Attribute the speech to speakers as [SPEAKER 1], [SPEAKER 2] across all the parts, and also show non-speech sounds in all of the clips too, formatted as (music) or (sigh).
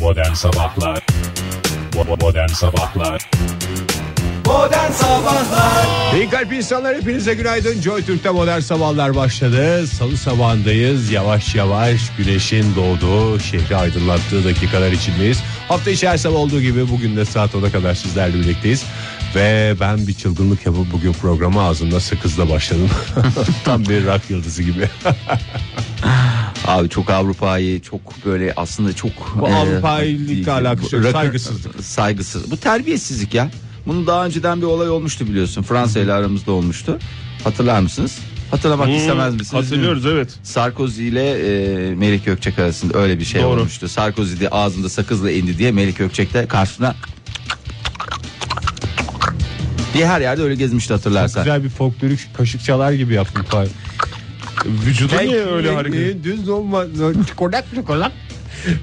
[SPEAKER 1] Modern Sabahlar Bo- Modern Sabahlar
[SPEAKER 2] Modern Sabahlar
[SPEAKER 3] İyi kalp insanlar hepinize günaydın. Joy Türk'te modern sabahlar başladı. Salı sabahındayız. Yavaş yavaş güneşin doğduğu, şehri aydınlattığı dakikalar içindeyiz. Hafta içi her sabah olduğu gibi bugün de saat 10'a kadar sizlerle birlikteyiz. Ve ben bir çılgınlık yapıp bugün programa ağzımda sakızla başladım. (laughs) Tam bir rock yıldızı gibi.
[SPEAKER 2] Abi çok Avrupa'yı çok böyle aslında çok
[SPEAKER 3] Bu Avrupa'ylıkla
[SPEAKER 2] e,
[SPEAKER 3] alakası yok,
[SPEAKER 2] rakı-
[SPEAKER 3] saygısızlık.
[SPEAKER 2] Saygısız. Bu terbiyesizlik ya. Bunun daha önceden bir olay olmuştu biliyorsun. Fransa ile aramızda olmuştu. Hatırlar mısınız? Hatırlamak istemez misiniz?
[SPEAKER 4] Hmm, Hatırlıyoruz evet.
[SPEAKER 2] Sarkozy ile e, Melik Gökçek arasında öyle bir şey
[SPEAKER 4] Doğru.
[SPEAKER 2] olmuştu. Sarkozy de ağzında sakızla indi diye Melik Gökçek de karşına diye her yerde öyle gezmişti hatırlarsan.
[SPEAKER 3] Güzel bir folklorik kaşık çalar gibi yaptım.
[SPEAKER 4] Vücudu niye öyle hareket?
[SPEAKER 3] Düz olma.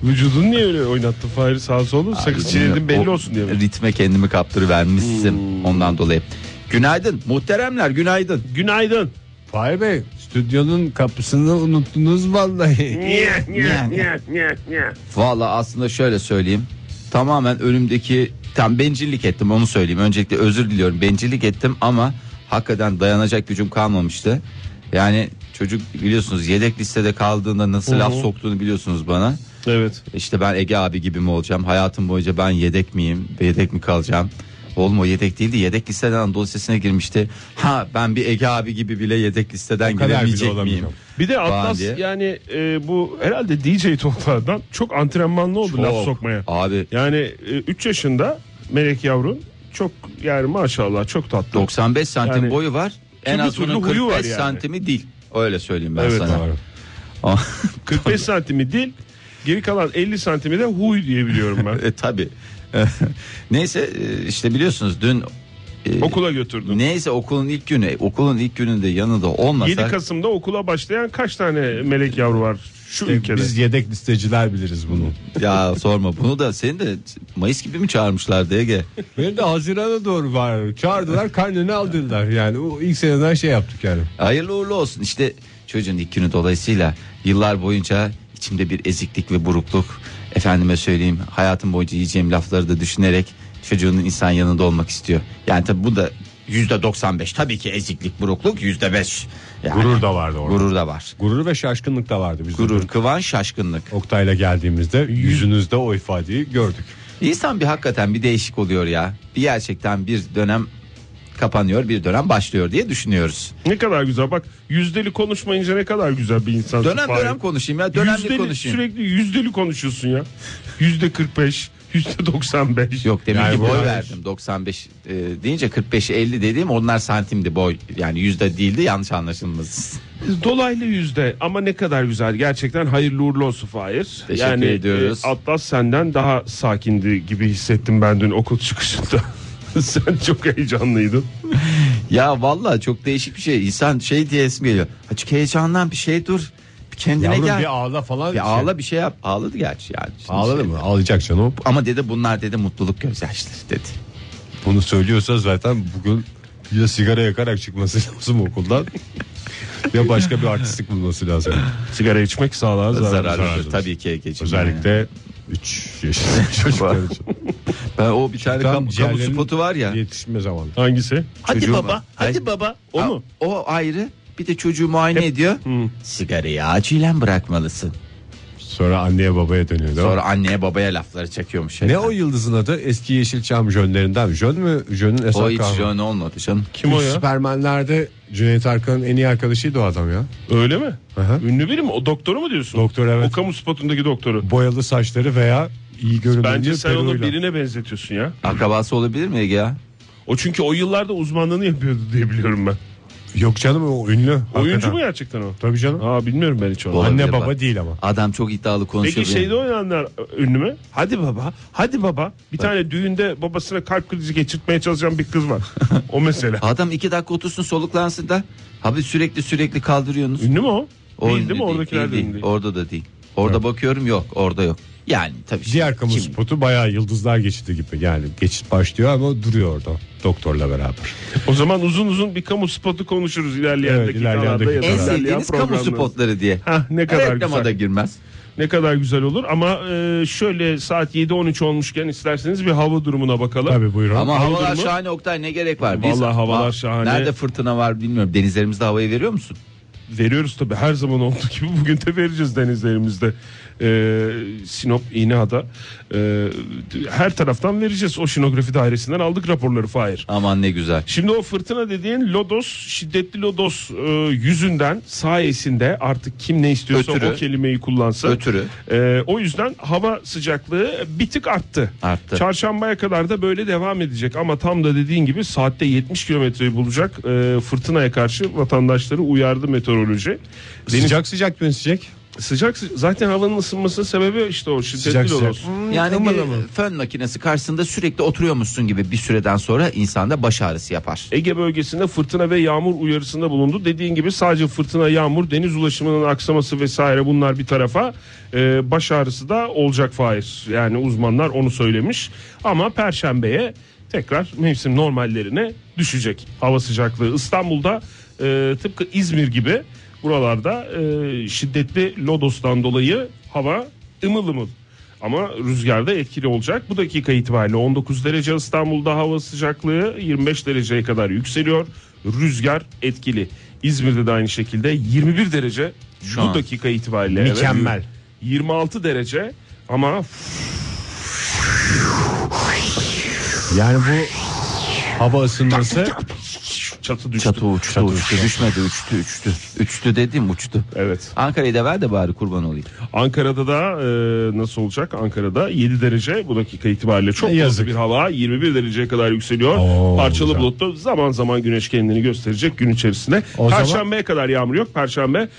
[SPEAKER 4] Vücudun niye öyle oynattı Fahir sağa sola sakız çiğnedin belli
[SPEAKER 2] O
[SPEAKER 4] olsun diye. Hmm. mi?
[SPEAKER 2] Ritme kendimi kaptırıvermişsin ondan dolayı. Günaydın muhteremler günaydın.
[SPEAKER 4] Günaydın.
[SPEAKER 3] Fahir Bey stüdyonun kapısını unuttunuz
[SPEAKER 4] (laughs)
[SPEAKER 3] vallahi.
[SPEAKER 2] Valla aslında şöyle söyleyeyim. Tamamen önümdeki tam bencillik ettim onu söyleyeyim. Öncelikle özür diliyorum bencillik ettim ama hakikaten dayanacak gücüm kalmamıştı. Yani çocuk biliyorsunuz yedek listede kaldığında nasıl laf soktuğunu biliyorsunuz bana.
[SPEAKER 4] Evet.
[SPEAKER 2] İşte ben Ege abi gibi mi olacağım? Hayatım boyunca ben yedek miyim? Yedek mi kalacağım? Oğlum o yedek değildi. Yedek listeden Anadolu Lisesi'ne girmişti. Ha ben bir Ege abi gibi bile yedek listeden
[SPEAKER 3] kadar bile
[SPEAKER 2] giremeyecek miyim?
[SPEAKER 3] olamayacağım.
[SPEAKER 4] Bir de Atlas
[SPEAKER 2] diye.
[SPEAKER 4] yani e, bu herhalde DJ toplardan çok antrenmanlı oldu laf
[SPEAKER 2] Çok.
[SPEAKER 4] sokmaya.
[SPEAKER 2] Abi
[SPEAKER 4] Yani 3 yaşında Melek yavrun çok yani maşallah çok tatlı.
[SPEAKER 2] 95 santim
[SPEAKER 4] Yani
[SPEAKER 2] boyu var. En
[SPEAKER 4] türlü
[SPEAKER 2] az
[SPEAKER 4] türlü
[SPEAKER 2] bunun 45
[SPEAKER 4] huyu var yani.
[SPEAKER 2] santimi değil. Öyle söyleyeyim ben
[SPEAKER 4] Evet,
[SPEAKER 2] sana.
[SPEAKER 3] Doğru.
[SPEAKER 4] 45 santimi değil. Geri kalan 50 santimi de huy diye biliyorum
[SPEAKER 2] (laughs)
[SPEAKER 4] ben.
[SPEAKER 2] e, tabii. Neyse e, işte biliyorsunuz dün e,
[SPEAKER 4] Okula götürdüm.
[SPEAKER 2] Neyse okulun ilk günü, okulun ilk gününde yanında olmasak
[SPEAKER 4] 7 Kasım'da okula başlayan kaç tane melek yavru var şu
[SPEAKER 2] E,
[SPEAKER 4] ülkede?
[SPEAKER 3] E, Biz yedek listeciler biliriz bunu.
[SPEAKER 2] ya sorma bunu da seni de Mayıs gibi mi çağırmışlardı Ege?
[SPEAKER 3] Beni de Haziran'a doğru var. Çağırdılar karnını aldılar. Yani o ilk seneden şey yaptık yani.
[SPEAKER 2] Hayırlı uğurlu olsun. İşte çocuğun ilk günü dolayısıyla yıllar boyunca içimde bir eziklik ve burukluk. Efendime söyleyeyim hayatım boyunca yiyeceğim lafları da düşünerek çocuğunun insan yanında olmak istiyor. Yani tabi bu da yüzde 95 tabii ki eziklik burukluk yüzde 5. Yani,
[SPEAKER 3] Gurur da vardı orada.
[SPEAKER 2] Gurur da var.
[SPEAKER 3] Gurur ve şaşkınlık da vardı bizim.
[SPEAKER 2] Gurur, kıvanç, şaşkınlık.
[SPEAKER 3] Oktay'la geldiğimizde yüzünüzde o ifadeyi gördük.
[SPEAKER 2] İnsan bir hakikaten bir değişik oluyor ya. Bir gerçekten bir dönem kapanıyor bir dönem başlıyor diye düşünüyoruz.
[SPEAKER 4] Ne kadar güzel bak yüzdeli konuşmayınca ne kadar güzel bir insan.
[SPEAKER 2] Dönem dönem konuşayım ya dönemli
[SPEAKER 4] yüzdeli,
[SPEAKER 2] konuşayım.
[SPEAKER 4] Sürekli yüzdeli konuşuyorsun ya. Yüzde 45, yüzde 95.
[SPEAKER 2] Yok demin
[SPEAKER 3] Yani
[SPEAKER 2] ki boy
[SPEAKER 3] bunlar-
[SPEAKER 2] verdim 95 e, deyince 45 50 dediğim onlar santimdi boy yani yüzde değildi yanlış anlaşılmasın.
[SPEAKER 4] Dolaylı yüzde ama ne kadar güzel. Gerçekten hayırlı uğurlu olsun Fahir.
[SPEAKER 2] Teşekkür ediyoruz.
[SPEAKER 4] e, Atlas senden daha sakindi gibi hissettim ben dün okul çıkışında. (laughs) Sen çok heyecanlıydın.
[SPEAKER 2] (laughs) Ya vallahi çok değişik bir şey insan şey diye esim geliyor açık heyecandan bir şey dur bir kendine
[SPEAKER 3] Yavrum
[SPEAKER 2] gel
[SPEAKER 3] bir ağla falan.
[SPEAKER 2] bir ağla bir şey yap ağladı gerçi yani. Şimdi
[SPEAKER 3] Ağladı
[SPEAKER 2] şey-
[SPEAKER 3] mı? Ağlayacak canım.
[SPEAKER 2] Ama dedi bunlar dedi mutluluk gözyaşları dedi.
[SPEAKER 3] Bunu söylüyorsa zaten bugün ya sigara yakarak çıkması (laughs) lazım okuldan ya başka bir artistlik bulması lazım.
[SPEAKER 4] Sigara içmek sağlığa zararlı.
[SPEAKER 2] Zararlıdır tabii ki Ege'ciğim.
[SPEAKER 3] Özellikle 3
[SPEAKER 2] (laughs)
[SPEAKER 3] yaşındaki çocuklar için.
[SPEAKER 2] Ben o bir tane
[SPEAKER 3] Tam
[SPEAKER 2] kamu, kamu
[SPEAKER 3] ciğerlerinin
[SPEAKER 2] spotu var ya.
[SPEAKER 3] Yetişme zamanı.
[SPEAKER 4] Hangisi?
[SPEAKER 2] Hadi
[SPEAKER 4] Çocuğum
[SPEAKER 2] baba,
[SPEAKER 4] var.
[SPEAKER 2] hadi
[SPEAKER 4] Hayır.
[SPEAKER 2] baba.
[SPEAKER 4] O
[SPEAKER 2] Ha,
[SPEAKER 4] mu?
[SPEAKER 2] O ayrı. Bir de çocuğu muayene ediyor. Sigarayı acilen bırakmalısın.
[SPEAKER 3] Sonra anneye babaya dönüyor. değil mi?
[SPEAKER 2] Sonra anneye babaya lafları çekiyormuş.
[SPEAKER 3] Ne o yıldızın adı? Eski Yeşilçam jönlerinden. Jön mü? Jön'ün eser
[SPEAKER 2] O hiç
[SPEAKER 3] kahramanı.
[SPEAKER 2] yön olmadı canım.
[SPEAKER 4] Kim o ya?
[SPEAKER 3] Süpermenlerde Cüneyt Arkan'ın en iyi arkadaşıydı o adam ya.
[SPEAKER 4] Öyle mi?
[SPEAKER 3] Aha.
[SPEAKER 4] Ünlü biri mi? O doktoru mu diyorsun?
[SPEAKER 3] Doktor, evet.
[SPEAKER 4] O kamu spotundaki doktoru.
[SPEAKER 3] Boyalı saçları veya iyi görünümlü
[SPEAKER 4] Bence sen onu
[SPEAKER 3] peruğuyla.
[SPEAKER 4] birine benzetiyorsun ya.
[SPEAKER 2] Akrabası olabilir mi Ege ya?
[SPEAKER 4] O çünkü o yıllarda uzmanlığını yapıyordu diye biliyorum ben.
[SPEAKER 3] Yok canım o ünlü.
[SPEAKER 4] Oyuncu
[SPEAKER 3] hakikaten.
[SPEAKER 4] mu gerçekten o?
[SPEAKER 3] Tabii canım.
[SPEAKER 4] Aa bilmiyorum ben hiç onu.
[SPEAKER 2] Olabilir
[SPEAKER 3] Anne
[SPEAKER 2] bak.
[SPEAKER 3] baba değil ama.
[SPEAKER 2] Adam çok iddialı konuşuyor.
[SPEAKER 4] Peki
[SPEAKER 2] benim.
[SPEAKER 4] şeyde oynayanlar ünlü mü? Şey Hadi baba, hadi baba. Bir tane düğünde babasına kalp krizi geçirtmeye çalışan bir kız var. o (laughs) mesele.
[SPEAKER 2] Adam iki dakika otursun soluklansın da. Abi sürekli sürekli kaldırıyorsunuz.
[SPEAKER 4] Ünlü mü o?
[SPEAKER 2] O
[SPEAKER 4] değil
[SPEAKER 2] ünlü
[SPEAKER 4] değil mi? Oradakiler
[SPEAKER 2] değil,
[SPEAKER 4] de ünlü değil.
[SPEAKER 2] Orada da değil. Orada bakıyorum yok orada yok. Yani tabii.
[SPEAKER 3] Diğer
[SPEAKER 2] şimdi
[SPEAKER 3] kamu
[SPEAKER 2] kim-
[SPEAKER 3] spotu bayağı yıldızlar geçidi gibi. Yani geçit başlıyor ama duruyor orada. Doktorla beraber.
[SPEAKER 4] O zaman uzun uzun bir kamu spotu konuşuruz ilerleyen
[SPEAKER 3] Evet,
[SPEAKER 4] dakikalarda
[SPEAKER 3] ilerleyen
[SPEAKER 4] ya da
[SPEAKER 3] dakikalarda.
[SPEAKER 2] En
[SPEAKER 4] ilerleyen
[SPEAKER 2] sevdiğiniz kamu
[SPEAKER 4] programlarda.
[SPEAKER 2] spotları diye.
[SPEAKER 4] Hah, ne kadar
[SPEAKER 2] Reklama
[SPEAKER 4] güzel.
[SPEAKER 2] da girmez.
[SPEAKER 4] Ne kadar güzel olur ama e, şöyle saat 7-13 olmuşken isterseniz bir hava durumuna bakalım.
[SPEAKER 3] Tabii buyurun.
[SPEAKER 2] Ama
[SPEAKER 4] Hava
[SPEAKER 2] havalar
[SPEAKER 4] durumu?
[SPEAKER 2] şahane Oktay ne gerek var?
[SPEAKER 4] Vallahi havalar
[SPEAKER 2] Ha,
[SPEAKER 4] şahane.
[SPEAKER 2] Nerede fırtına var bilmiyorum. Denizlerimizde havayı veriyor musun?
[SPEAKER 4] Veriyoruz tabii her zaman olduğu (laughs) gibi bugün de vereceğiz denizlerimizde. Ee, Sinop, İğneada ee, her taraftan vereceğiz. O şinografi dairesinden aldık raporları Fahir.
[SPEAKER 2] Aman ne güzel.
[SPEAKER 4] Şimdi o fırtına dediğin lodos, şiddetli lodos e, yüzünden sayesinde artık kim ne istiyorsa
[SPEAKER 2] Ötürü.
[SPEAKER 4] o kelimeyi kullansa.
[SPEAKER 2] Ötürü.
[SPEAKER 4] E, o yüzden hava sıcaklığı bir tık arttı.
[SPEAKER 2] Arttı.
[SPEAKER 4] Çarşambaya kadar da böyle devam edecek ama tam da dediğin gibi saatte 70 kilometreyi bulacak e, fırtınaya karşı vatandaşları uyardı meteoroloji. Deniz
[SPEAKER 3] Sıcak
[SPEAKER 4] sıcak
[SPEAKER 3] sıcak mı sıcak?
[SPEAKER 4] sıcak zaten havanın ısınmasının sebebi işte o şiddetli
[SPEAKER 3] Sıcak sıcak.
[SPEAKER 4] lodos.
[SPEAKER 2] Yani
[SPEAKER 3] Aman
[SPEAKER 2] bir
[SPEAKER 3] aman.
[SPEAKER 2] fön makinesi karşısında sürekli oturuyormuşsun gibi bir süreden sonra insanda baş ağrısı yapar.
[SPEAKER 4] Ege bölgesinde fırtına ve yağmur uyarısında bulundu. Dediğin gibi sadece fırtına, yağmur, deniz ulaşımının aksaması vesaire bunlar bir tarafa. Ee, baş ağrısı da olacak Fahir. Yani uzmanlar onu söylemiş. Ama perşembeye tekrar mevsim normallerine düşecek hava sıcaklığı. İstanbul'da e, tıpkı İzmir gibi buralarda e, şiddetli lodostan dolayı hava ımıl ımıl. Ama rüzgar da etkili olacak. Bu dakika itibariyle 19 derece İstanbul'da hava sıcaklığı 25 dereceye kadar yükseliyor. Rüzgar etkili. İzmir'de de aynı şekilde 21 derece
[SPEAKER 2] Şu
[SPEAKER 4] bu
[SPEAKER 2] an.
[SPEAKER 4] dakika itibariyle.
[SPEAKER 3] Mükemmel.
[SPEAKER 4] Evet. 26 derece ama
[SPEAKER 3] Yani bu hava ısınması
[SPEAKER 4] çatı düştü.
[SPEAKER 2] Çatı uçtu, uçtu, düşmedi, uçtu, uçtu. Uçtu dedim, uçtu.
[SPEAKER 4] Evet.
[SPEAKER 2] Ankara'yı da ver de bari kurban olayım.
[SPEAKER 4] Ankara'da da e, nasıl olacak? Ankara'da 7 derece bu dakika itibariyle çok
[SPEAKER 3] Yazık.
[SPEAKER 4] fazla bir hava 21 dereceye kadar yükseliyor.
[SPEAKER 3] Oo,
[SPEAKER 4] Parçalı
[SPEAKER 3] güzel.
[SPEAKER 4] bulutlu zaman zaman güneş kendini gösterecek gün içerisinde.
[SPEAKER 3] O zaman-
[SPEAKER 4] Perşembeye kadar yağmur yok. Perşembe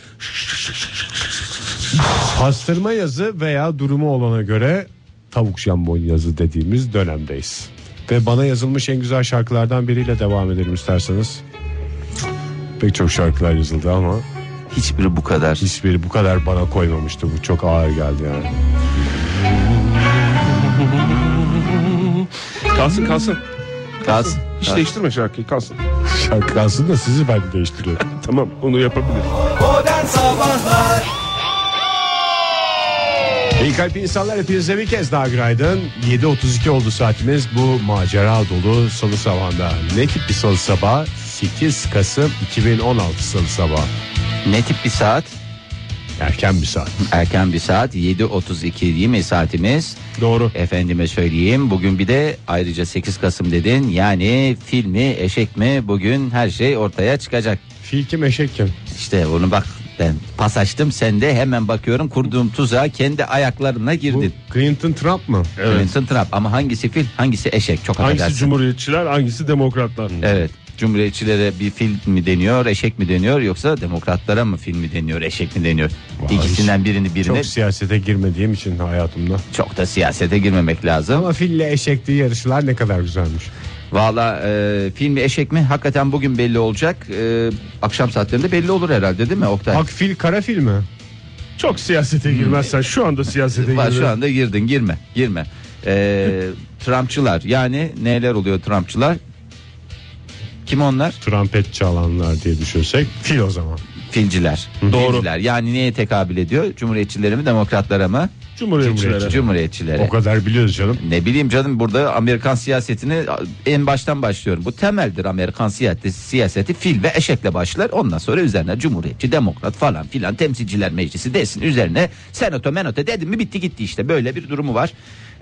[SPEAKER 3] pastırma yazı veya durumu olana göre tavuk jambon yazı dediğimiz dönemdeyiz. Ve bana yazılmış en güzel şarkılardan biriyle devam edelim isterseniz. Pek çok şarkılar yazıldı ama
[SPEAKER 2] Hiçbiri bu kadar.
[SPEAKER 3] hiçbiri bu kadar bana koymamıştı. Bu çok ağır geldi yani. (laughs)
[SPEAKER 4] kalsın kalsın.
[SPEAKER 2] Kalsın.
[SPEAKER 4] Hiç
[SPEAKER 2] Kalsın.
[SPEAKER 4] değiştirme şarkıyı kalsın.
[SPEAKER 3] Şarkı aslında sizi ben değiştiriyorum.
[SPEAKER 4] Tamam onu yapabilir.
[SPEAKER 3] İyi kalp insanlar hepinize bir kez daha günaydın. 7.32 oldu saatimiz bu macera dolu salı sabahında. Ne tip bir salı sabahı? 8 Kasım 2016 salı sabahı.
[SPEAKER 2] Ne tip bir saat?
[SPEAKER 3] Erken bir saat.
[SPEAKER 2] Erken bir saat 7.32 değil mi saatimiz?
[SPEAKER 3] Doğru.
[SPEAKER 2] Efendime söyleyeyim bugün bir de ayrıca 8 Kasım dedin yani fil mi eşek mi bugün her şey ortaya çıkacak.
[SPEAKER 3] Fil kim eşek kim?
[SPEAKER 2] İşte onu bak ben pas açtım sen de hemen bakıyorum kurduğum tuzağa kendi ayaklarına
[SPEAKER 3] Bu
[SPEAKER 2] girdin.
[SPEAKER 3] Clinton Trump mı?
[SPEAKER 2] Clinton Trump ama hangisi fil hangisi eşek çok
[SPEAKER 4] Hangisi
[SPEAKER 2] affedersin.
[SPEAKER 4] cumhuriyetçiler hangisi demokratlar?
[SPEAKER 2] Evet. Cumhuriyetçilere bir fil mi deniyor, eşek mi deniyor yoksa demokratlara mı fil mi deniyor, eşek mi deniyor?
[SPEAKER 3] Vay.
[SPEAKER 2] İkisinden birini
[SPEAKER 3] Çok
[SPEAKER 2] birine çok,
[SPEAKER 3] siyasete girmediğim için hayatımda.
[SPEAKER 2] da siyasete girmemek lazım.
[SPEAKER 3] Ama fille eşekli yarışlar ne kadar güzelmiş.
[SPEAKER 2] Valla e, fil mi eşek mi hakikaten bugün belli olacak. E, akşam saatlerinde belli olur herhalde değil mi Oktay?
[SPEAKER 3] Ak fil kara fil mi?
[SPEAKER 4] Çok siyasete girmezsen şu anda siyasete
[SPEAKER 2] Bak şu
[SPEAKER 4] girdin.
[SPEAKER 2] anda girdin girme girme. E, Trumpçılar yani neler oluyor Trumpçılar? Kim onlar?
[SPEAKER 3] Trompet çalanlar diye düşünsek fil o zaman.
[SPEAKER 2] Filciler.
[SPEAKER 4] Doğru.
[SPEAKER 2] Filciler. Yani neye tekabül ediyor? Cumhuriyetçilere mi demokratlara mı?
[SPEAKER 4] Cumhuriyetçilere.
[SPEAKER 2] Cumhuriyetçilere.
[SPEAKER 3] O kadar biliyoruz canım.
[SPEAKER 2] Ne bileyim canım burada Amerikan siyasetini en baştan başlıyorum. Bu temeldir Amerikan siyaseti, siyaseti fil ve eşekle başlar. Ondan sonra üzerine cumhuriyetçi, demokrat falan filan temsilciler meclisi desin. Üzerine senato menote dedim mi bitti gitti işte böyle bir durumu var.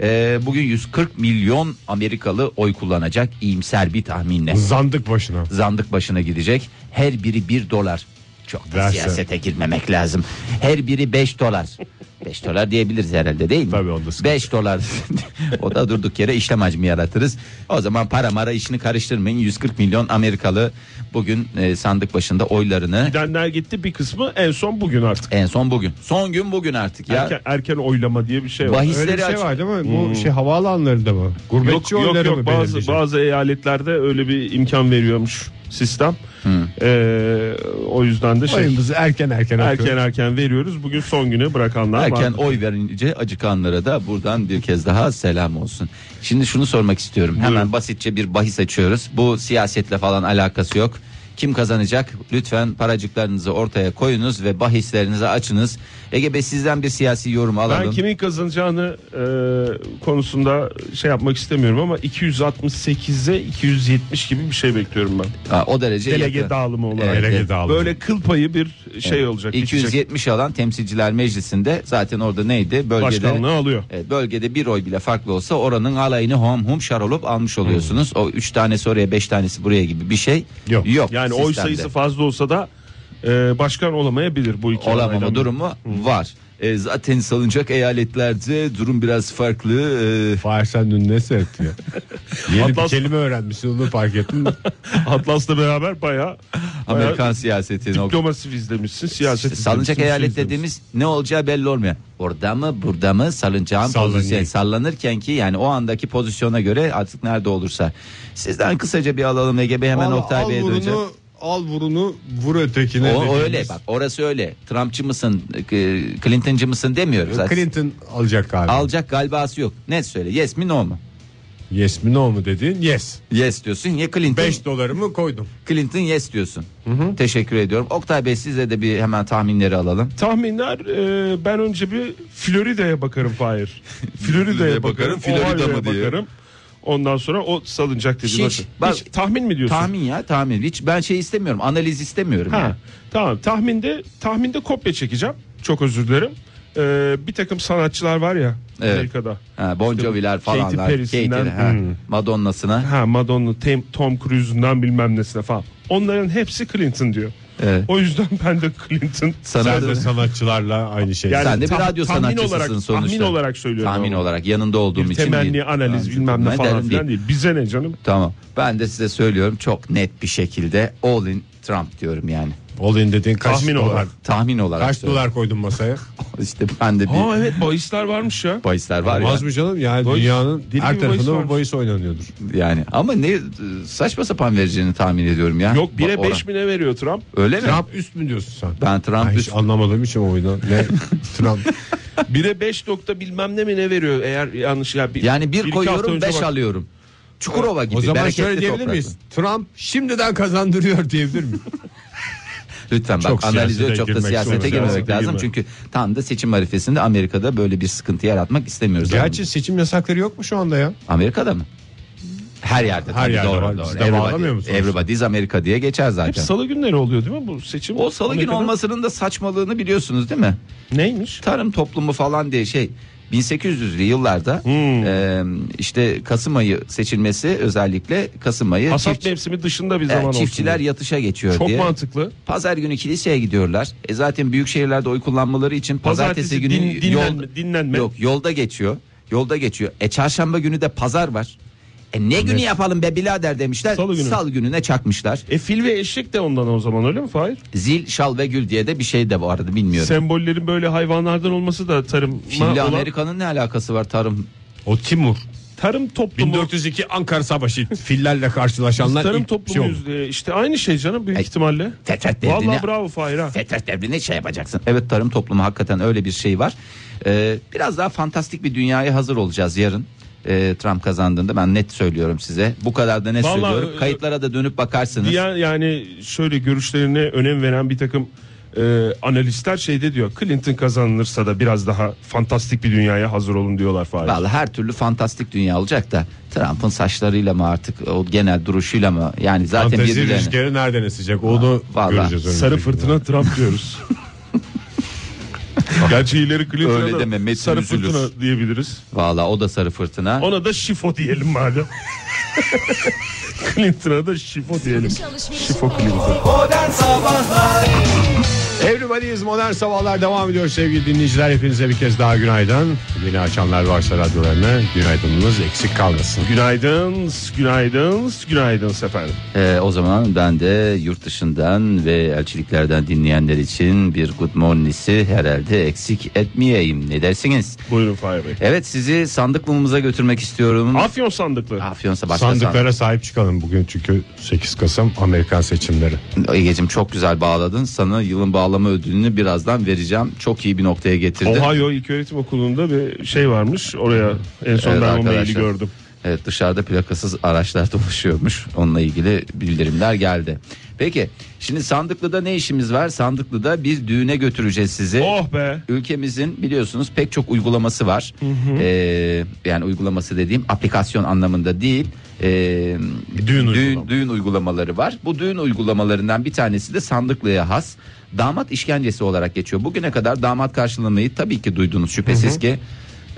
[SPEAKER 2] Ee, bugün 140 milyon Amerikalı oy kullanacak iyimser bir tahminle.
[SPEAKER 3] Zandık başına.
[SPEAKER 2] Zandık başına gidecek. Her biri 1 dolar. Çok da
[SPEAKER 3] Verse.
[SPEAKER 2] siyasete girmemek lazım. Her biri 5 dolar.
[SPEAKER 3] (laughs)
[SPEAKER 2] 5 dolar diyebiliriz herhalde değil mi?
[SPEAKER 3] Tabii, onda sıkıntı.
[SPEAKER 2] 5 dolar. (laughs) o da durduk yere işlem hacmi yaratırız. O zaman para mara işini karıştırmayın. 140 milyon Amerikalı bugün e, sandık başında oylarını
[SPEAKER 4] Gidenler gitti bir kısmı en son bugün artık.
[SPEAKER 2] en son bugün. Son gün bugün artık ya.
[SPEAKER 4] Erken, erken oylama diye bir şey var.
[SPEAKER 2] Bahis-
[SPEAKER 3] Öyle bir şey
[SPEAKER 2] aç- Hmm.
[SPEAKER 3] var değil mi? Bu şey havaalanlarında mı?
[SPEAKER 4] Yok
[SPEAKER 3] Gurbetçi
[SPEAKER 4] yok
[SPEAKER 3] oyları mı
[SPEAKER 4] yok bazı
[SPEAKER 3] belirleyecek?
[SPEAKER 4] bazı eyaletlerde öyle bir imkan veriyormuş sistem.
[SPEAKER 2] Hmm.
[SPEAKER 4] Ee, o yüzden de şey,
[SPEAKER 3] Oyumuzu erken erken
[SPEAKER 4] erken
[SPEAKER 3] erken.
[SPEAKER 4] erken veriyoruz. Bugün son güne bırakanlar
[SPEAKER 2] Erken
[SPEAKER 4] var.
[SPEAKER 2] oy verince acıkanlara da buradan bir kez daha selam olsun. Şimdi şunu sormak istiyorum. Hemen basitçe bir bahis açıyoruz. Bu siyasetle falan alakası yok. Kim kazanacak? Lütfen paracıklarınızı ortaya koyunuz ve bahislerinizi açınız. Ege Bey sizden bir siyasi yorum alalım.
[SPEAKER 4] Ben kimin kazanacağını e, konusunda şey yapmak istemiyorum ama 268'e 270 gibi bir şey bekliyorum ben.
[SPEAKER 2] Ha, o derece
[SPEAKER 4] Delege
[SPEAKER 2] yakın.
[SPEAKER 4] dağılımı olarak.
[SPEAKER 2] Evet,
[SPEAKER 3] Delege
[SPEAKER 2] evet.
[SPEAKER 3] dağılımı.
[SPEAKER 4] Böyle kıl payı bir şey olacak. bitecek.
[SPEAKER 2] 270 alan temsilciler meclisinde zaten orada neydi? Bölgede
[SPEAKER 4] başkanlığı alıyor.
[SPEAKER 2] E, bölgede bir oy bile farklı olsa oranın alayını hom hum şar olup almış oluyorsunuz. O üç tanesi oraya beş tanesi buraya gibi bir şey
[SPEAKER 3] Yok.
[SPEAKER 2] yok.
[SPEAKER 4] Yani oy
[SPEAKER 2] sistemde.
[SPEAKER 4] sayısı fazla olsa da e, başkan olamayabilir bu iki adaydan.
[SPEAKER 2] olamama durumu
[SPEAKER 4] Hmm.
[SPEAKER 2] var. E, zaten salınacak eyaletlerde durum biraz farklı. E,
[SPEAKER 3] Fahir sen dün ne
[SPEAKER 4] (laughs)
[SPEAKER 3] seyrettin ya? Yeni bir
[SPEAKER 4] Atlas-
[SPEAKER 3] kelime öğrenmişsin onu fark ettin mi?
[SPEAKER 4] (laughs) Atlas'la beraber bayağı
[SPEAKER 2] (laughs) Amerikan
[SPEAKER 4] bayağı
[SPEAKER 2] siyaseti
[SPEAKER 4] diplomasi izlemişsin, siyaset
[SPEAKER 2] İşte salınacak
[SPEAKER 4] izlemişsin,
[SPEAKER 2] eyalet
[SPEAKER 4] şey izlemişsin.
[SPEAKER 2] dediğimiz ne olacağı belli olmuyor. Orada mı burada mı salıncağın
[SPEAKER 3] Sallanıyor.
[SPEAKER 2] pozisyon sallanırken ki yani o andaki pozisyona göre artık nerede olursa. Sizden kısaca bir alalım Ege Bey (laughs) hemen
[SPEAKER 3] Vallahi
[SPEAKER 2] Oktay Bey'e döneceğim.
[SPEAKER 3] al vurunu vur ötekine.
[SPEAKER 2] O, o
[SPEAKER 3] dediğimiz-
[SPEAKER 2] öyle bak orası öyle. Trumpçı mısın, e, Clinton'cı mısın demiyoruz zaten.
[SPEAKER 3] Clinton alacak galiba.
[SPEAKER 2] Alacak galibası yok. Net söyle yes mi no mu?
[SPEAKER 3] Yes mi no mu dedin? Yes.
[SPEAKER 2] Yes diyorsun ya Clinton.
[SPEAKER 3] 5 dolarımı koydum.
[SPEAKER 2] Clinton yes diyorsun. Teşekkür ediyorum. Oktay Bey size de bir hemen tahminleri alalım.
[SPEAKER 4] Tahminler e, ben önce bir Florida'ya bakarım
[SPEAKER 2] (laughs)
[SPEAKER 4] Fahir. Florida'ya bakarım,
[SPEAKER 2] Florida
[SPEAKER 4] Florida
[SPEAKER 2] mı diye.
[SPEAKER 4] bakarım. Ondan sonra o salınacak dedi.
[SPEAKER 2] Hiç,
[SPEAKER 4] Hiç,
[SPEAKER 2] bak-
[SPEAKER 4] Hiç tahmin mi diyorsun?
[SPEAKER 2] Tahmin ya tahmin. Hiç ben şey istemiyorum. Analiz istemiyorum.
[SPEAKER 4] Ha,
[SPEAKER 2] yani.
[SPEAKER 4] tamam tahminde tahminde kopya çekeceğim. Çok özür dilerim. E, bir takım sanatçılar var ya
[SPEAKER 2] Evet.
[SPEAKER 4] Amerika'da.
[SPEAKER 2] Ha, bon
[SPEAKER 4] İşte bu
[SPEAKER 2] Jovi'ler
[SPEAKER 4] Katy
[SPEAKER 2] falanlar.
[SPEAKER 4] Perry'sinden,
[SPEAKER 2] Katy, ha,
[SPEAKER 4] hmm.
[SPEAKER 2] Madonna'sına.
[SPEAKER 4] Ha Madonna, Tim- Tom Cruise'undan bilmem nesine falan. Onların hepsi Clinton diyor.
[SPEAKER 2] Evet.
[SPEAKER 4] O yüzden (laughs) ben de Clinton.
[SPEAKER 2] e, Sana
[SPEAKER 3] Sen de sanatçılarla aynı şey.
[SPEAKER 4] Yani
[SPEAKER 2] Sen de bir
[SPEAKER 4] tah-
[SPEAKER 2] radyo
[SPEAKER 4] tahmin
[SPEAKER 2] sanatçısısın
[SPEAKER 4] olarak-
[SPEAKER 2] sonuçta.
[SPEAKER 4] tahmin olarak söylüyorum
[SPEAKER 2] Tahmin
[SPEAKER 4] ama.
[SPEAKER 2] olarak yanında olduğum
[SPEAKER 4] bir
[SPEAKER 2] için
[SPEAKER 4] temenni,
[SPEAKER 2] değil.
[SPEAKER 4] analiz
[SPEAKER 2] Ha,
[SPEAKER 4] bilmem ne
[SPEAKER 2] ben
[SPEAKER 4] falan
[SPEAKER 2] derim
[SPEAKER 4] filan değil. Bize ne canım?
[SPEAKER 2] Tamam. Ben de size söylüyorum çok net bir şekilde all in Trump diyorum yani.
[SPEAKER 3] Olin dediğin kaç
[SPEAKER 4] Tahmin
[SPEAKER 3] dolar?
[SPEAKER 4] olarak.
[SPEAKER 2] Tahmin olarak.
[SPEAKER 3] Kaç
[SPEAKER 2] söylüyorum.
[SPEAKER 3] dolar koydun masaya?
[SPEAKER 2] İşte ben de bir
[SPEAKER 4] Aa evet bahisler
[SPEAKER 2] (laughs)
[SPEAKER 4] varmış ya.
[SPEAKER 2] bahisler var ya.
[SPEAKER 3] Az mı canım? Yani
[SPEAKER 4] Bahis-
[SPEAKER 3] dünyanın
[SPEAKER 4] deli
[SPEAKER 3] her
[SPEAKER 4] bir bahis
[SPEAKER 3] tarafında bu
[SPEAKER 4] varmış.
[SPEAKER 3] bahis oynanıyordur.
[SPEAKER 2] Yani ama ne e, saçma sapan vereceğini tahmin ediyorum ya.
[SPEAKER 4] Yok 1'e
[SPEAKER 2] Bak, oran.
[SPEAKER 4] 5 bine veriyor Trump.
[SPEAKER 2] Öyle mi?
[SPEAKER 3] Trump üst mü diyorsun sen?
[SPEAKER 2] Ben Trump
[SPEAKER 3] Ay, hiç
[SPEAKER 2] üst-
[SPEAKER 3] anlamadığım için oyunu.
[SPEAKER 2] (laughs)
[SPEAKER 3] Ne Trump?
[SPEAKER 4] 1'e 5 nokta bilmem ne mi ne veriyor eğer yanlış ya. Bir,
[SPEAKER 2] Yani bir,
[SPEAKER 4] iki hafta
[SPEAKER 2] koyuyorum
[SPEAKER 4] önce
[SPEAKER 2] 5
[SPEAKER 4] bak-
[SPEAKER 2] alıyorum. Çukurova gibi.
[SPEAKER 3] o zaman
[SPEAKER 2] bereketli
[SPEAKER 3] şöyle diyebilir
[SPEAKER 2] topraklı.
[SPEAKER 3] miyiz? Trump şimdiden kazandırıyor (laughs) diyebilir miyiz?
[SPEAKER 2] Lütfen bak
[SPEAKER 3] Çok
[SPEAKER 2] analize
[SPEAKER 3] siyasete
[SPEAKER 2] çok da
[SPEAKER 3] girmek, sonra
[SPEAKER 2] siyasete girmemek
[SPEAKER 3] siyasete
[SPEAKER 2] lazım.
[SPEAKER 3] girmek.
[SPEAKER 2] Çünkü tam da seçim arifesinde Amerika'da böyle bir sıkıntı yaratmak istemiyoruz.
[SPEAKER 3] Gerçi seçim yasakları yok mu şu anda ya?
[SPEAKER 2] Amerika'da mı? Her yerde. tabii,
[SPEAKER 3] yerde
[SPEAKER 2] doğru,
[SPEAKER 3] var.
[SPEAKER 2] Doğru.
[SPEAKER 3] Bizi de bağlamıyor mu
[SPEAKER 2] Everybody,
[SPEAKER 3] sonuçta?
[SPEAKER 2] everybody's Amerika diye geçer
[SPEAKER 4] Hep
[SPEAKER 2] zaten.
[SPEAKER 4] salı günleri oluyor değil mi bu seçim?
[SPEAKER 2] O salı günü
[SPEAKER 4] Amerika'da.
[SPEAKER 2] olmasının da saçmalığını biliyorsunuz değil mi?
[SPEAKER 4] Neymiş?
[SPEAKER 2] Tarım toplumu falan diye şey 1800'lü yıllarda
[SPEAKER 4] Hmm.
[SPEAKER 2] e, işte Kasım ayı seçilmesi özellikle Kasım ayı
[SPEAKER 4] Hasat
[SPEAKER 2] E, çift-
[SPEAKER 4] mevsimi dışında bir
[SPEAKER 2] e,
[SPEAKER 4] zaman olsun.
[SPEAKER 2] çiftçiler yatışa geçiyor
[SPEAKER 4] Çok
[SPEAKER 2] diye.
[SPEAKER 4] mantıklı.
[SPEAKER 2] Pazar günü kiliseye gidiyorlar. E zaten büyük şehirlerde oy kullanmaları için pazartesi,
[SPEAKER 4] Pazartesi
[SPEAKER 2] günü
[SPEAKER 4] din- dinlenme- dinlenme.
[SPEAKER 2] Yok, yolda geçiyor. Yolda geçiyor. E çarşamba günü de pazar var. E ne günü yapalım be birader demişler.
[SPEAKER 4] Salı günü.
[SPEAKER 2] gününe çakmışlar.
[SPEAKER 4] E fil ve eşek de ondan o zaman öyle mi Fahir?
[SPEAKER 2] Zil, şal ve gül diye de bir şey de vardı bilmiyorum.
[SPEAKER 4] Sembollerin böyle hayvanlardan olması da tarım
[SPEAKER 2] Şimdi Amerika'nın ne alakası var tarım?
[SPEAKER 3] O Timur.
[SPEAKER 4] tarım toplumu
[SPEAKER 3] 1402 Ankara Savaşı fillerle karşılaşanlar
[SPEAKER 4] tarım
[SPEAKER 3] ilk
[SPEAKER 4] toplumu
[SPEAKER 3] şey oldu.
[SPEAKER 4] yüzde- işte aynı şey canım büyük
[SPEAKER 2] Ay,
[SPEAKER 4] ihtimalle.
[SPEAKER 2] Fetret
[SPEAKER 4] Vallahi
[SPEAKER 2] devrini
[SPEAKER 4] bravo Fahir ha.
[SPEAKER 2] FETÖ devrini şey yapacaksın. Evet tarım toplumu hakikaten öyle bir şey var. Ee, biraz daha fantastik bir dünyaya hazır olacağız yarın. Ee, Trump kazandığında ben net söylüyorum size. Bu kadar da net
[SPEAKER 4] Vallahi,
[SPEAKER 2] söylüyorum.
[SPEAKER 4] e,
[SPEAKER 2] Kayıtlara da dönüp bakarsınız.
[SPEAKER 4] Diğer yani şöyle görüşlerine önem veren bir takım e, analistler şeyde diyor Clinton kazanılırsa da biraz daha fantastik bir dünyaya hazır olun diyorlar Fahir.
[SPEAKER 2] Vallahi her türlü fantastik dünya olacak da Trump'ın saçlarıyla mı artık o genel duruşuyla mı yani zaten
[SPEAKER 3] Fantezi
[SPEAKER 2] birbirlerine
[SPEAKER 3] rüzgarı nereden esecek onu
[SPEAKER 2] Vallahi.
[SPEAKER 3] göreceğiz. önümüzdeki
[SPEAKER 4] Sarı
[SPEAKER 3] günlerde.
[SPEAKER 4] fırtına
[SPEAKER 2] (laughs)
[SPEAKER 4] Trump diyoruz. Gerçi ileri Clinton'a
[SPEAKER 2] Öyle
[SPEAKER 4] da
[SPEAKER 2] deme, Metin
[SPEAKER 4] sarı
[SPEAKER 2] üzülür.
[SPEAKER 4] fırtına diyebiliriz.
[SPEAKER 2] Vallahi o da sarı fırtına.
[SPEAKER 4] Ona da şifo diyelim madem. (laughs) Clinton'a da şifo diyelim. Şifo Clinton.
[SPEAKER 3] Everybody's Modern Sabahlar devam ediyor sevgili dinleyiciler. Hepinize bir kez daha günaydın. Yeni açanlar varsa radyolarına günaydınımız eksik kalmasın.
[SPEAKER 4] Günaydın, günaydın, günaydın efendim.
[SPEAKER 2] Ee, o zaman ben de yurt dışından ve elçiliklerden dinleyenler için bir good morning'si herhalde eksik etmeyeyim. Ne dersiniz?
[SPEAKER 4] Buyurun Fahir Bey.
[SPEAKER 2] Evet sizi sandık mumumuza götürmek istiyorum.
[SPEAKER 4] Afyon sandıklı.
[SPEAKER 2] Afyon'sa başka
[SPEAKER 3] Sandıklara sahip çıkalım bugün çünkü 8 Kasım Amerikan seçimleri.
[SPEAKER 2] sandık. Ege'cim çok güzel bağladın. Sana yılın bağlama ödülünü birazdan vereceğim. Çok iyi bir noktaya getirdin.
[SPEAKER 4] Ohio İlköğretim Okulu'nda bir şey varmış. Oraya en son
[SPEAKER 2] Evet
[SPEAKER 4] ben o maili
[SPEAKER 2] arkadaşlar.
[SPEAKER 4] gördüm.
[SPEAKER 2] Evet, dışarıda plakasız araçlar (laughs) dolaşıyormuş. Onunla ilgili bildirimler geldi. Peki şimdi Sandıklı'da ne işimiz var? Sandıklı'da bir düğüne götüreceğiz sizi.
[SPEAKER 4] Oh be.
[SPEAKER 2] Ülkemizin biliyorsunuz pek çok uygulaması var. Ee, yani uygulaması dediğim aplikasyon anlamında değil. Ee,
[SPEAKER 3] Düğün
[SPEAKER 2] düğün,
[SPEAKER 3] uygulaması.
[SPEAKER 2] düğün uygulamaları var. Bu düğün uygulamalarından bir tanesi de Sandıklı'ya has damat işkencesi olarak geçiyor. Bugüne kadar damat karşılamayı tabii ki duydunuz şüphesiz ki.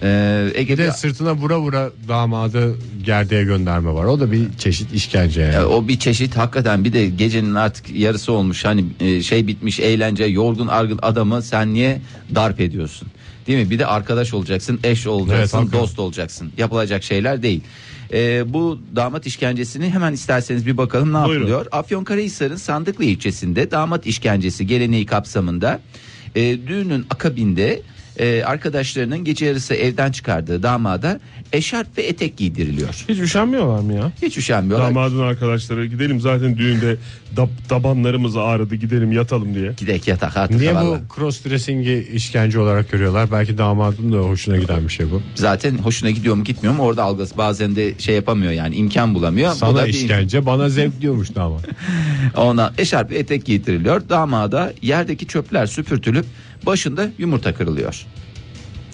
[SPEAKER 2] Ee,
[SPEAKER 3] Bir
[SPEAKER 2] Ege'de
[SPEAKER 3] de sırtına vura vura damadı gerdeğe gönderme var. O da bir çeşit işkence yani.
[SPEAKER 2] Ya E, O bir çeşit hakikaten bir de gecenin artık yarısı olmuş hani e, şey bitmiş eğlence yorgun argın adamı sen niye darp ediyorsun? Değil mi? Bir de arkadaş olacaksın, eş olacaksın,
[SPEAKER 3] Evet, hakikaten.
[SPEAKER 2] dost olacaksın. Yapılacak şeyler değil. E, bu damat işkencesini hemen isterseniz bir bakalım ne
[SPEAKER 4] Buyurun.
[SPEAKER 2] yapılıyor. Afyonkarahisar'ın Sandıklı ilçesinde damat işkencesi geleneği kapsamında e, düğünün akabinde e, arkadaşlarının gece yarısı evden çıkardığı damada eşarp ve etek giydiriliyor.
[SPEAKER 4] Hiç üşenmiyorlar mı ya?
[SPEAKER 2] Hiç üşenmiyorlar.
[SPEAKER 4] Damadın arkadaşları gidelim zaten düğünde dab- tabanlarımız ağrıdı gidelim yatalım diye.
[SPEAKER 2] Gidek yatak artık.
[SPEAKER 3] Niye
[SPEAKER 2] vallahi.
[SPEAKER 3] bu cross dressing'i işkence olarak görüyorlar? Belki damadın da hoşuna giden bir şey bu.
[SPEAKER 2] zaten hoşuna gidiyor mu gitmiyor mu orada algısı bazen de şey yapamıyor yani imkan bulamıyor. Bu
[SPEAKER 3] Sana
[SPEAKER 2] da bir-
[SPEAKER 3] işkence, bana zevk diyormuş
[SPEAKER 2] (laughs)
[SPEAKER 3] damat.
[SPEAKER 2] Ona eşarp etek giydiriliyor. Damada yerdeki çöpler süpürtülüp başında yumurta kırılıyor.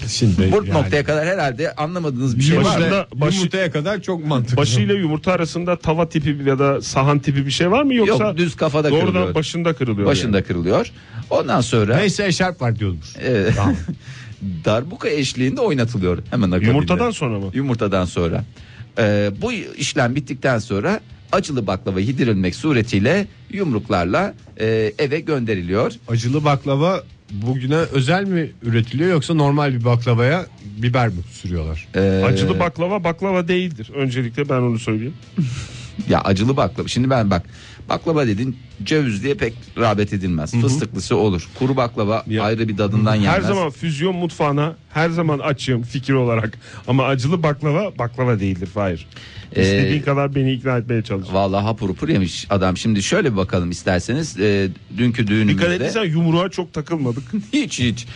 [SPEAKER 3] Şimdi
[SPEAKER 2] Bu
[SPEAKER 3] yani-
[SPEAKER 2] noktaya kadar herhalde anlamadığınız bir şey var.
[SPEAKER 4] Başında-
[SPEAKER 3] Yumurta-
[SPEAKER 4] başı-
[SPEAKER 3] yumurtaya kadar çok mantıklı.
[SPEAKER 4] Başıyla yumurta arasında tava tipi ya da sahan tipi bir şey var mı yoksa?
[SPEAKER 2] Yok, düz kafada
[SPEAKER 4] doğrudan
[SPEAKER 2] kırılıyor.
[SPEAKER 4] başında kırılıyor.
[SPEAKER 2] Başında kırılıyor. Ondan sonra
[SPEAKER 3] Neyse eşarp var diyormuş.
[SPEAKER 2] e,
[SPEAKER 3] Tamam.
[SPEAKER 2] (laughs) darbuka eşliğinde oynatılıyor. Hemen akabinde.
[SPEAKER 4] Yumurtadan sonra mı?
[SPEAKER 2] Yumurtadan sonra. E, bu işlem bittikten sonra acılı baklava yedirilmek suretiyle yumruklarla e, eve gönderiliyor.
[SPEAKER 3] Acılı baklava bugüne özel mi üretiliyor yoksa normal bir baklavaya biber mi sürüyorlar?
[SPEAKER 2] E,
[SPEAKER 4] yani. Acılı baklava baklava değildir. Öncelikle ben onu söyleyeyim.
[SPEAKER 2] Ya acılı baklava. Şimdi ben bak baklava dedin ceviz diye pek rağbet edilmez. Fıstıklısı olur. Kuru baklava
[SPEAKER 4] Ya.
[SPEAKER 2] ayrı bir tadından yenmez.
[SPEAKER 4] Her zaman füzyon mutfağına her zaman açığım fikir olarak. Ama acılı baklava baklava değildir. Hayır.
[SPEAKER 2] Ee,
[SPEAKER 4] İstediğin kadar beni ikna etmeye çalış.
[SPEAKER 2] Vallahi hapur hupur yemiş adam. Şimdi şöyle bir bakalım isterseniz. Ee, dünkü
[SPEAKER 4] Dikkat
[SPEAKER 2] düğünümüzde
[SPEAKER 4] edersen yumruğa çok takılmadık.
[SPEAKER 2] (laughs) hiç hiç.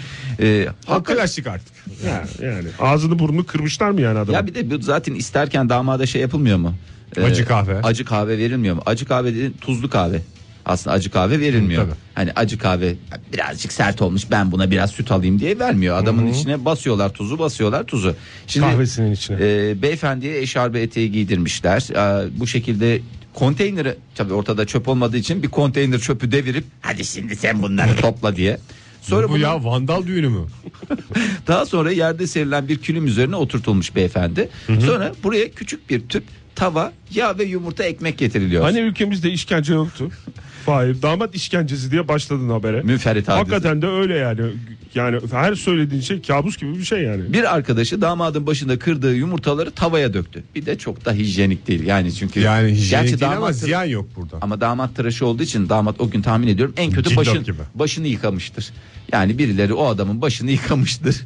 [SPEAKER 2] Ee, hakikaten-
[SPEAKER 3] Klasik artık.
[SPEAKER 4] yani, yani ağzını burnunu kırmışlar mı yani adamın?
[SPEAKER 2] Ya bir de bu zaten isterken damada şey yapılmıyor mu? Ee,
[SPEAKER 3] Acı kahve.
[SPEAKER 2] Acı kahve verilmiyor mu? Acı kahve dediğin tuzlu kahve. Aslında acı kahve verilmiyor.
[SPEAKER 3] Hı, tabii.
[SPEAKER 2] Hani acı kahve birazcık sert olmuş ben buna biraz süt alayım diye vermiyor. Adamın içine basıyorlar tuzu basıyorlar tuzu. Şimdi
[SPEAKER 4] Kahvesinin içine.
[SPEAKER 2] e, beyefendiye eşarbe eteği giydirmişler. E, bu şekilde konteyneri tabii ortada çöp olmadığı için bir konteyner çöpü devirip hadi şimdi sen bunları topla diye. Sonra
[SPEAKER 3] Bu
[SPEAKER 2] bunu-
[SPEAKER 3] ya vandal düğünü mü?
[SPEAKER 2] daha sonra yerde serilen bir külüm üzerine oturtulmuş beyefendi. Sonra buraya küçük bir tüp tava, yağ ve yumurta ekmek getiriliyor.
[SPEAKER 4] Hani ülkemizde işkence yoktu. Hayır damat işkencesi diye başladın habere.
[SPEAKER 2] Müferit hadise.
[SPEAKER 4] Hakikaten de öyle yani. Yani her söylediğin şey kabus gibi bir şey yani.
[SPEAKER 2] Bir arkadaşı damadın başında kırdığı yumurtaları tavaya döktü. Bir de çok da hijyenik değil. Yani çünkü
[SPEAKER 3] Yani hijyenik
[SPEAKER 2] Gerçi
[SPEAKER 3] değil
[SPEAKER 2] damat
[SPEAKER 3] ama
[SPEAKER 2] tıra-
[SPEAKER 3] ziyan yok burada.
[SPEAKER 2] ama damat tıraşı olduğu için damat o gün tahmin ediyorum en kötü
[SPEAKER 3] Cillop
[SPEAKER 2] başın,
[SPEAKER 3] gibi.
[SPEAKER 2] başını yıkamıştır. Yani birileri o adamın başını yıkamıştır.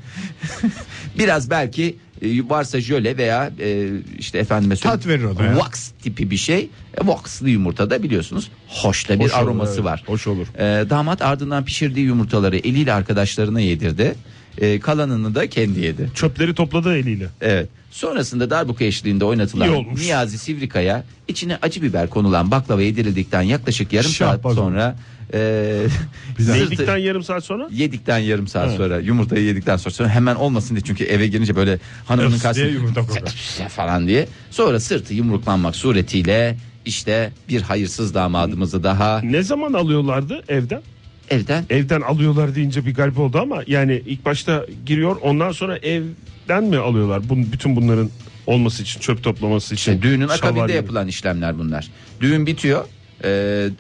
[SPEAKER 2] (laughs) Biraz belki e, varsa jöle veya e, işte efendime söyleyeyim.
[SPEAKER 3] Tat verir o da ya.
[SPEAKER 2] Wax tipi bir şey. E, Waxlı yumurta da biliyorsunuz hoş da bir
[SPEAKER 4] Hoş olur,
[SPEAKER 2] aroması
[SPEAKER 4] evet.
[SPEAKER 2] var.
[SPEAKER 4] Hoş olur.
[SPEAKER 2] E, damat ardından pişirdiği yumurtaları eliyle arkadaşlarına yedirdi. E, kalanını da kendi yedi.
[SPEAKER 4] Çöpleri topladı eliyle.
[SPEAKER 2] Evet. Sonrasında darbuka eşliğinde oynatılan
[SPEAKER 4] İyi olmuş.
[SPEAKER 2] Niyazi Sivrikaya içine acı biber konulan baklava yedirildikten yaklaşık yarım saat
[SPEAKER 3] Şahbaz
[SPEAKER 2] sonra e, sırtı-
[SPEAKER 4] Neydikten yarım saat sonra?
[SPEAKER 2] yedikten yarım saat sonra yumurtayı yedikten sonra, sonra hemen olmasın diye çünkü eve girince böyle hanımının
[SPEAKER 3] Öf diye
[SPEAKER 2] karşısına (laughs)
[SPEAKER 3] yumurta koyar.
[SPEAKER 2] falan diye sonra sırtı yumruklanmak suretiyle işte bir hayırsız damadımızı daha
[SPEAKER 4] Ne zaman alıyorlardı evden?
[SPEAKER 2] evden
[SPEAKER 4] Evden alıyorlar deyince bir garip oldu ama yani ilk başta giriyor ondan sonra evden mi alıyorlar? Bun, bütün bunların olması için çöp toplaması için.
[SPEAKER 2] işte düğünün
[SPEAKER 4] şalvar
[SPEAKER 2] akabinde
[SPEAKER 4] gibi.
[SPEAKER 2] yapılan işlemler bunlar. Düğün bitiyor. E,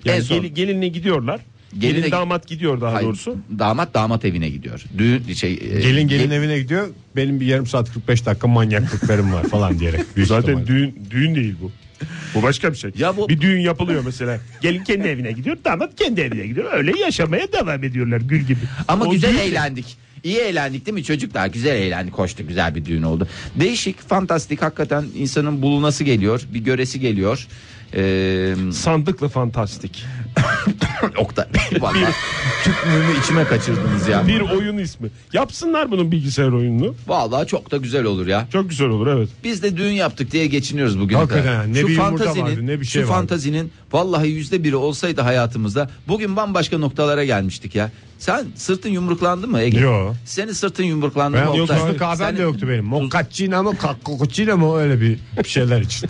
[SPEAKER 2] en
[SPEAKER 4] Yani
[SPEAKER 2] son
[SPEAKER 4] gel- gelinle gidiyorlar.
[SPEAKER 2] Geline-
[SPEAKER 4] Gelin, damat gidiyor daha
[SPEAKER 2] Hayır,
[SPEAKER 4] doğrusu.
[SPEAKER 2] damat damat evine gidiyor. Düğün şey e,
[SPEAKER 3] Gelin gelin
[SPEAKER 2] ge-
[SPEAKER 3] evine gidiyor. Benim bir yarım saat 45 dakika manyaklıklarım var falan
[SPEAKER 2] (laughs)
[SPEAKER 3] diyerek. Büyük
[SPEAKER 4] Zaten
[SPEAKER 3] ihtimalle.
[SPEAKER 4] düğün düğün değil bu. Bu başka bir şey.
[SPEAKER 2] Ya bu-
[SPEAKER 4] Bir düğün yapılıyor mesela. Gelin kendi evine gidiyor, damat kendi evine gidiyor. Öyle yaşamaya devam ediyorlar gül gibi.
[SPEAKER 2] Ama
[SPEAKER 4] O
[SPEAKER 2] güzel
[SPEAKER 4] düğün-
[SPEAKER 2] eğlendik. İyi eğlendik değil mi çocuklar? Güzel eğlendik, hoştu, güzel bir düğün oldu. Değişik, fantastik, hakikaten insanın bulunası geliyor, bir göresi geliyor. Ee,
[SPEAKER 4] Sandıkla fantastik.
[SPEAKER 2] (clears throat) Oktay (laughs) Bey valla tüpümü içime kaçırdınız ya.
[SPEAKER 4] Bir oyun ismi. Yapsınlar bunun bilgisayar oyununu.
[SPEAKER 2] Vallahi çok da güzel olur ya.
[SPEAKER 4] Çok güzel olur evet.
[SPEAKER 2] Biz de düğün yaptık diye geçiniyoruz bugün.
[SPEAKER 3] Hakikaten ne bir yumurta vardı, ne bir şey
[SPEAKER 2] şu
[SPEAKER 3] vardı.
[SPEAKER 2] fantazinin vallahi yüzde biri olsaydı hayatımızda bugün bambaşka noktalara gelmiştik ya. Sen sırtın yumruklandı mı Ege?
[SPEAKER 3] Yo.
[SPEAKER 2] Senin sırtın yumruklandı
[SPEAKER 3] Ben
[SPEAKER 2] mı
[SPEAKER 3] yok
[SPEAKER 2] Oktay?
[SPEAKER 3] kahvem
[SPEAKER 2] Senin-
[SPEAKER 3] de yoktu benim. Mokaccino mu kakkuccino mu öyle bir bir şeyler
[SPEAKER 2] (laughs)
[SPEAKER 3] içti.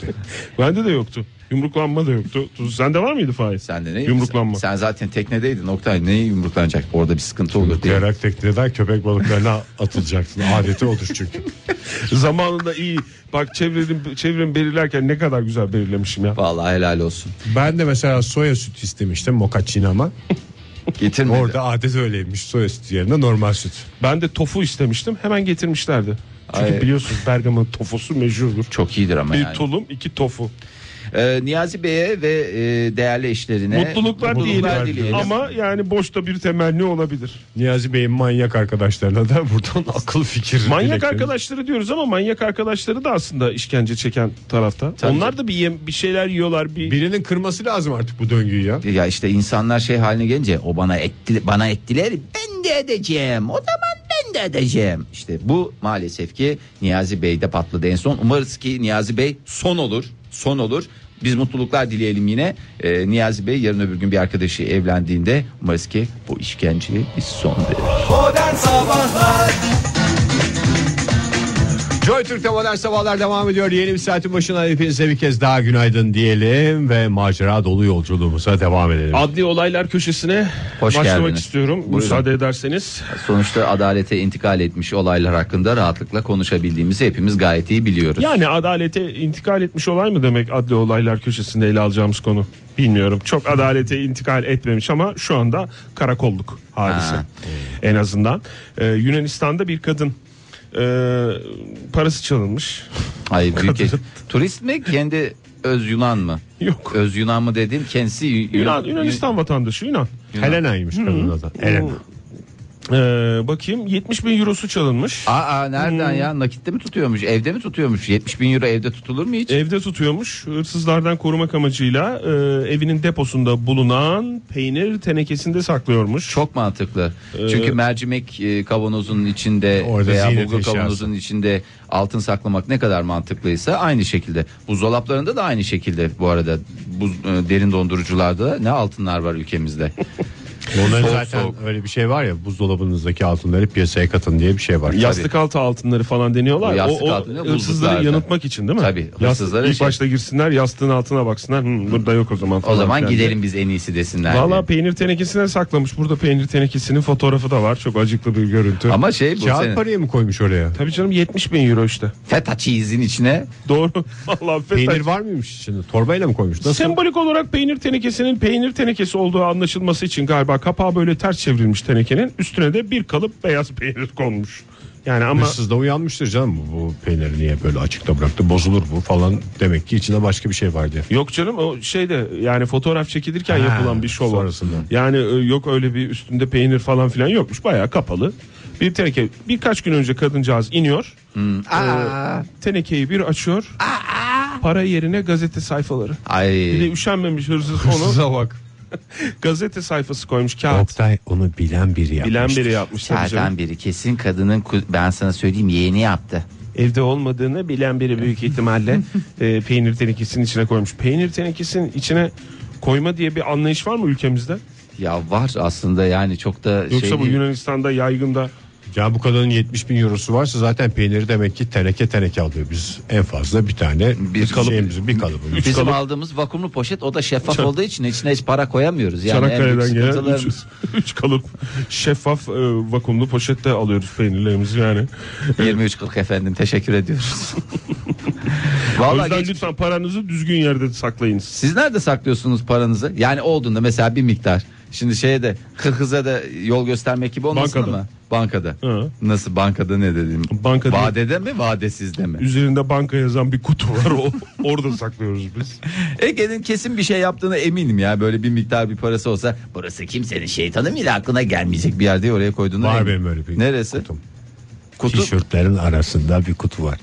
[SPEAKER 4] Bende de yoktu. Yumruklanma da yoktu. Tuz- Sende var mıydı Fahir?
[SPEAKER 2] Sende ne?
[SPEAKER 4] Yumruklanma.
[SPEAKER 2] Sen zaten teknedeydin Oktay. Neye yumruklanacak? Orada bir sıkıntı olur diye.
[SPEAKER 3] Yarak tekneden köpek balıklarına atılacaksın. Adeti odur çünkü.
[SPEAKER 2] (laughs)
[SPEAKER 4] Zamanında iyi. Bak çevrenin çevremi belirlerken ne kadar güzel belirlemişim ya.
[SPEAKER 2] Vallahi helal olsun.
[SPEAKER 3] Ben de mesela soya süt istemiştim mokaccino ama.
[SPEAKER 2] Getirmedi.
[SPEAKER 3] Orada adet öyleymiş. Soya sütü yerine normal süt.
[SPEAKER 4] Ben de tofu istemiştim. Hemen getirmişlerdi. Çünkü
[SPEAKER 2] Ay.
[SPEAKER 4] biliyorsunuz Bergama'nın tofusu meşhurdur.
[SPEAKER 2] Çok iyidir ama
[SPEAKER 4] bir
[SPEAKER 2] yani.
[SPEAKER 4] tulum, iki tofu.
[SPEAKER 2] Ee, Niyazi Bey'e ve e, değerli eşlerine
[SPEAKER 4] Mutluluklar,
[SPEAKER 2] mutluluklar
[SPEAKER 4] diyelim.
[SPEAKER 2] dileyelim.
[SPEAKER 4] Ama yani boşta bir temenni olabilir.
[SPEAKER 3] Niyazi Bey'in manyak arkadaşlarına da buradan (laughs) akıl fikir.
[SPEAKER 4] Manyak
[SPEAKER 3] dileklerimiz.
[SPEAKER 4] arkadaşları diyoruz ama manyak arkadaşları da aslında işkence çeken tarafta.
[SPEAKER 2] Tabii
[SPEAKER 4] Onlar da bir yem- bir şeyler yiyorlar. Bir
[SPEAKER 3] Birinin kırması lazım artık bu döngüyü ya.
[SPEAKER 2] ya işte insanlar şey haline gelince o bana etti bana ettiler ben de edeceğim o zaman ben de edeceğim. İşte bu maalesef ki Niyazi Bey'de patladı en son. Umarız ki Niyazi Bey son olur. Son olur. Biz mutluluklar dileyelim yine. Ee, Niyazi Bey yarın öbür gün bir arkadaşı evlendiğinde umarız ki bu işkenceye bir son verir.
[SPEAKER 5] Modern Sabahlar
[SPEAKER 3] Joy Türk'te modern sabahlar devam ediyor. Yeni bir saatin başına hepinize bir kez daha günaydın diyelim ve macera dolu yolculuğumuza devam edelim.
[SPEAKER 4] adli olaylar köşesine
[SPEAKER 2] Hoş
[SPEAKER 4] başlamak
[SPEAKER 2] geldiniz.
[SPEAKER 4] istiyorum.
[SPEAKER 2] Buyurun.
[SPEAKER 4] Müsaade ederseniz.
[SPEAKER 2] Sonuçta adalete intikal etmiş olaylar hakkında rahatlıkla konuşabildiğimizi hepimiz gayet iyi biliyoruz.
[SPEAKER 4] Yani adalete intikal etmiş olay mı demek adli olaylar köşesinde ele alacağımız konu? Bilmiyorum. Çok adalete intikal etmemiş ama şu anda karakolluk hadise.
[SPEAKER 2] Ha.
[SPEAKER 4] En azından. Ee, Yunanistan'da bir kadın e, parası çalınmış.
[SPEAKER 2] Hayır büyük eş- turist mi kendi öz Yunan mı?
[SPEAKER 4] Yok.
[SPEAKER 2] Öz Yunan mı dedim kendisi Yu-
[SPEAKER 4] Yunan,
[SPEAKER 2] Yun-
[SPEAKER 4] Yunanistan vatandaşı Yunan.
[SPEAKER 3] Helena'ymış kadın adı. Helena.
[SPEAKER 4] Ee, bakayım 70 bin eurosu çalınmış.
[SPEAKER 2] Aa nereden
[SPEAKER 3] Hmm.
[SPEAKER 2] ya nakitte mi tutuyormuş evde mi tutuyormuş 70 bin euro evde tutulur mu hiç?
[SPEAKER 3] E-
[SPEAKER 4] Evde tutuyormuş. Hırsızlardan korumak amacıyla e, evinin deposunda bulunan peynir tenekesinde saklıyormuş.
[SPEAKER 2] Çok mantıklı. Çünkü mercimek e, kavanozunun içinde
[SPEAKER 3] Orada
[SPEAKER 2] veya
[SPEAKER 3] ziynet
[SPEAKER 2] bulgur
[SPEAKER 3] eşyası.
[SPEAKER 2] kavanozunun içinde altın saklamak ne kadar mantıklıysa aynı şekilde. Buzdolaplarında da aynı şekilde bu arada. Buz, e, derin dondurucularda ne altınlar var ülkemizde.
[SPEAKER 3] Onların
[SPEAKER 2] Soğuk,
[SPEAKER 3] zaten
[SPEAKER 2] soğuk.
[SPEAKER 3] öyle bir şey var ya buzdolabınızdaki altınları piyasaya katın diye bir şey var.
[SPEAKER 4] Yastık altı altınları falan deniyorlar.
[SPEAKER 2] Bu
[SPEAKER 4] ya.
[SPEAKER 2] yastık
[SPEAKER 4] o, o
[SPEAKER 2] altı ne?
[SPEAKER 4] hırsızları
[SPEAKER 2] Buzluklarda.
[SPEAKER 4] yanıltmak için değil mi?
[SPEAKER 2] Tabii,
[SPEAKER 4] Yastık-
[SPEAKER 2] hırsızlara
[SPEAKER 4] ilk
[SPEAKER 2] şey-
[SPEAKER 4] başta girsinler yastığın altına baksınlar. Hı, burada yok o zaman
[SPEAKER 2] o
[SPEAKER 4] falan
[SPEAKER 2] zaman
[SPEAKER 4] filan diye.
[SPEAKER 2] gidelim biz en iyisi desinler. diye.
[SPEAKER 4] Valla peynir tenekesine saklamış. Burada peynir tenekesinin fotoğrafı da var. Çok acıklı bir görüntü.
[SPEAKER 2] Ama şey bu
[SPEAKER 3] Kağıt
[SPEAKER 2] senin
[SPEAKER 3] parayı mı koymuş oraya?
[SPEAKER 4] Tabii canım 70 bin euro işte. (laughs)
[SPEAKER 2] feta cheese'in içine
[SPEAKER 4] Doğru. Vallahi feta-
[SPEAKER 3] Peynir var mıymış içinde? Torbayla mı koymuş? Nasıl?
[SPEAKER 4] Sembolik olarak peynir tenekesinin peynir tenekesi olduğu anlaşılması için galiba kapağı böyle ters çevrilmiş tenekenin üstüne de bir kalıp beyaz peynir konmuş. Yani ama
[SPEAKER 3] Hırsız da uyanmıştır canım bu- bu peyniri niye böyle açıkta bıraktı bozulur bu falan demek ki içinde başka bir şey var diye.
[SPEAKER 4] yok canım o şeyde yani fotoğraf çekilirken
[SPEAKER 3] Ha,
[SPEAKER 4] yapılan bir şov. o.
[SPEAKER 3] sonrasında.
[SPEAKER 4] Yani e, yok öyle bir üstünde peynir falan filan yokmuş. Bayağı kapalı. Bir teneke birkaç gün önce kadıncağız iniyor.
[SPEAKER 3] Hmm.
[SPEAKER 4] Ee, tenekeyi bir açıyor. Para yerine gazete sayfaları. Bir de
[SPEAKER 2] ay
[SPEAKER 3] (laughs)
[SPEAKER 4] üşenmemiş hırsız onu
[SPEAKER 3] Hırsıza bak.
[SPEAKER 4] gazete sayfası koymuş kağıt.
[SPEAKER 3] Oktay onu bilen biri yapmış.
[SPEAKER 4] Bilen biri yapmış tabii canım.
[SPEAKER 2] Çardan biri kesin kadının ku- ben sana söyleyeyim yeğeni yaptı.
[SPEAKER 4] evde olmadığını bilen biri büyük ihtimalle e, peynir tenekesinin içine koymuş. Peynir tenekesinin içine koyma diye bir anlayış var mı ülkemizde?
[SPEAKER 2] Ya var aslında yani çok da
[SPEAKER 4] Yoksa
[SPEAKER 2] şey
[SPEAKER 4] bu
[SPEAKER 2] değil.
[SPEAKER 4] Yunanistan'da yaygında
[SPEAKER 3] Ya bu kadının 70 bin eurosu varsa zaten peyniri demek ki teneke teneke alıyor. Biz en fazla bir tane bir
[SPEAKER 2] Bir
[SPEAKER 3] kalıp,
[SPEAKER 2] kalıp-
[SPEAKER 3] bir kalıbı.
[SPEAKER 2] Bizim
[SPEAKER 4] kalıp-
[SPEAKER 2] aldığımız vakumlu poşet o da şeffaf olduğu için içine hiç para koyamıyoruz. Yani en büyük
[SPEAKER 4] Çanakkale'den gelen
[SPEAKER 2] sıkıntılarımız.
[SPEAKER 4] 3 kalıp şeffaf e, vakumlu poşette alıyoruz peynirlerimizi yani. (laughs)
[SPEAKER 2] 23.40 efendim teşekkür ediyoruz.
[SPEAKER 4] O
[SPEAKER 2] Vallahi
[SPEAKER 4] yüzden
[SPEAKER 2] geç-
[SPEAKER 4] lütfen paranızı düzgün yerde saklayınız.
[SPEAKER 2] siz nerede saklıyorsunuz paranızı? Yani olduğunda mesela bir miktar Şimdi şeye de kırkıza da yol göstermek gibi olmasın
[SPEAKER 4] Bankada.
[SPEAKER 2] ama. Bankada.
[SPEAKER 4] Hı.
[SPEAKER 2] Nasıl bankada ne dedim?
[SPEAKER 4] Bankada-
[SPEAKER 2] Vadede mi vadesizde mi?
[SPEAKER 4] Üzerinde banka yazan bir kutu var.
[SPEAKER 2] (laughs)
[SPEAKER 4] O, orada saklıyoruz biz.
[SPEAKER 2] Ege'nin kesin bir şey yaptığına eminim ya. Böyle bir miktar bir parası olsa burası kimsenin şeytanı bile aklına gelmeyecek bir yerde oraya koyduğuna
[SPEAKER 3] Var
[SPEAKER 2] eminim.
[SPEAKER 3] benim öyle bir
[SPEAKER 2] Neresi?
[SPEAKER 3] kutum.
[SPEAKER 2] Kutu.
[SPEAKER 3] Tişörtlerin arasında bir kutu var.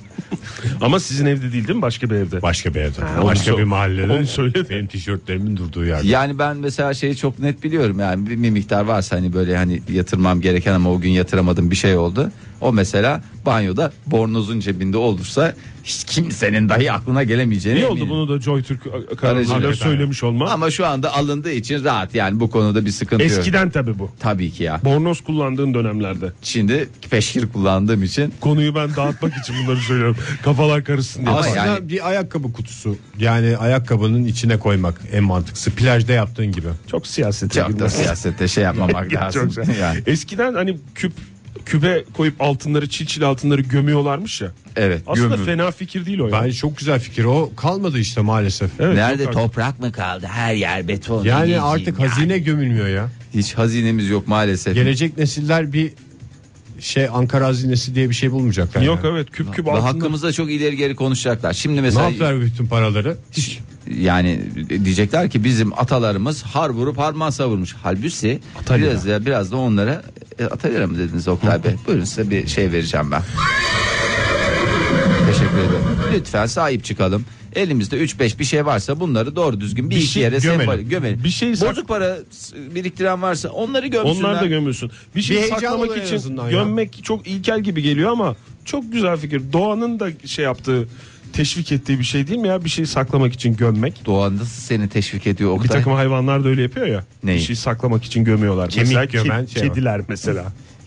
[SPEAKER 4] Ama sizin evde değil değil mi? Başka bir evde.
[SPEAKER 3] Başka bir evde. başka
[SPEAKER 4] onu
[SPEAKER 3] bir
[SPEAKER 4] so-
[SPEAKER 3] mahallede.
[SPEAKER 4] onu söyledi.
[SPEAKER 3] Benim tişörtlerimin durduğu yerde.
[SPEAKER 2] Yani ben mesela şeyi çok net biliyorum yani bir, bir miktar varsa hani böyle hani yatırmam gereken ama o gün yatıramadım bir şey oldu. O mesela banyoda bornozun cebinde olursa hiç kimsenin dahi aklına gelemeyeceğini
[SPEAKER 4] İyi oldu
[SPEAKER 2] eminim.
[SPEAKER 4] bunu da Joy Türk kanalında
[SPEAKER 2] Aracılık.
[SPEAKER 4] söylemiş olma.
[SPEAKER 2] Ama şu anda alındığı için rahat yani bu konuda bir sıkıntı yok.
[SPEAKER 4] Eskiden tabi bu.
[SPEAKER 2] Tabii ki ya.
[SPEAKER 4] Bornoz kullandığın dönemlerde.
[SPEAKER 2] Şimdi peşkir kullandığım için
[SPEAKER 4] Konuyu ben dağıtmak için bunları söylüyorum. Kafalar karışsın diye.
[SPEAKER 2] Ama
[SPEAKER 4] Aslında-
[SPEAKER 2] yani-
[SPEAKER 3] bir ayakkabı kutusu. Yani ayakkabının içine koymak en mantıklısı. Plajda yaptığın gibi.
[SPEAKER 4] Çok siyaset.
[SPEAKER 2] çok da siyasete şey
[SPEAKER 4] (laughs)
[SPEAKER 2] yapmamak lazım.
[SPEAKER 4] Çok güzel.
[SPEAKER 2] (laughs) Yani,
[SPEAKER 4] Eskiden hani küp kübe koyup altınları çil çil altınları gömüyorlarmış ya.
[SPEAKER 2] evet.
[SPEAKER 4] Aslında
[SPEAKER 2] gömüm.
[SPEAKER 4] fena fikir değil o ya.
[SPEAKER 3] Bence çok güzel fikir. O kalmadı işte maalesef.
[SPEAKER 4] Evet,
[SPEAKER 2] Nerede
[SPEAKER 4] çok haklı.
[SPEAKER 2] toprak mı kaldı? Her yer beton.
[SPEAKER 3] Yani
[SPEAKER 2] Yiyeceğim
[SPEAKER 3] artık
[SPEAKER 2] ya.
[SPEAKER 3] hazine gömülmüyor ya.
[SPEAKER 2] hiç hazinemiz yok maalesef.
[SPEAKER 3] Gelecek nesiller bir şey Ankara hazinesi diye bir şey bulmayacaklar.
[SPEAKER 4] Yok
[SPEAKER 3] yani.
[SPEAKER 4] evet küp küp
[SPEAKER 2] Ve
[SPEAKER 4] altınlar.
[SPEAKER 2] hakkımızda çok ileri geri konuşacaklar. Şimdi
[SPEAKER 3] Ne
[SPEAKER 2] mesela
[SPEAKER 3] yaptılar bütün paraları?
[SPEAKER 2] yani diyecekler ki bizim atalarımız har vurup harman savurmuş. Halbuki biraz da, biraz da onlara e, Atalera mı dediniz Oktay Bey? Buyurun size bir şey vereceğim ben. Teşekkür ederim. Lütfen sahip çıkalım. Elimizde 3-5 bir şey varsa bunları doğru düzgün bir,
[SPEAKER 3] Bir
[SPEAKER 2] iki
[SPEAKER 3] şey
[SPEAKER 2] yere
[SPEAKER 3] gömelim.
[SPEAKER 2] sembol- gömelim.
[SPEAKER 4] Bir şey sak-
[SPEAKER 2] Bozuk para biriktiren varsa onları gömsünler.
[SPEAKER 4] Onlar da gömülsün. Bir şey
[SPEAKER 3] Bir heyecan
[SPEAKER 4] saklamak
[SPEAKER 3] oluyor en
[SPEAKER 4] için
[SPEAKER 3] azından ya.
[SPEAKER 4] gömmek çok ilkel gibi geliyor ama çok güzel fikir. Doğanın da şey yaptığı teşvik ettiği bir şey değil mi ya bir şey saklamak için gömmek.
[SPEAKER 2] Doğan nasıl seni teşvik ediyor Oktay?
[SPEAKER 4] Bir takım hayvanlar da öyle yapıyor ya.
[SPEAKER 2] Neyi?
[SPEAKER 4] Bir şey saklamak için gömüyorlar.
[SPEAKER 3] Kemik
[SPEAKER 4] mesela
[SPEAKER 3] gömen
[SPEAKER 4] ke-
[SPEAKER 3] şey var.
[SPEAKER 4] kediler mesela.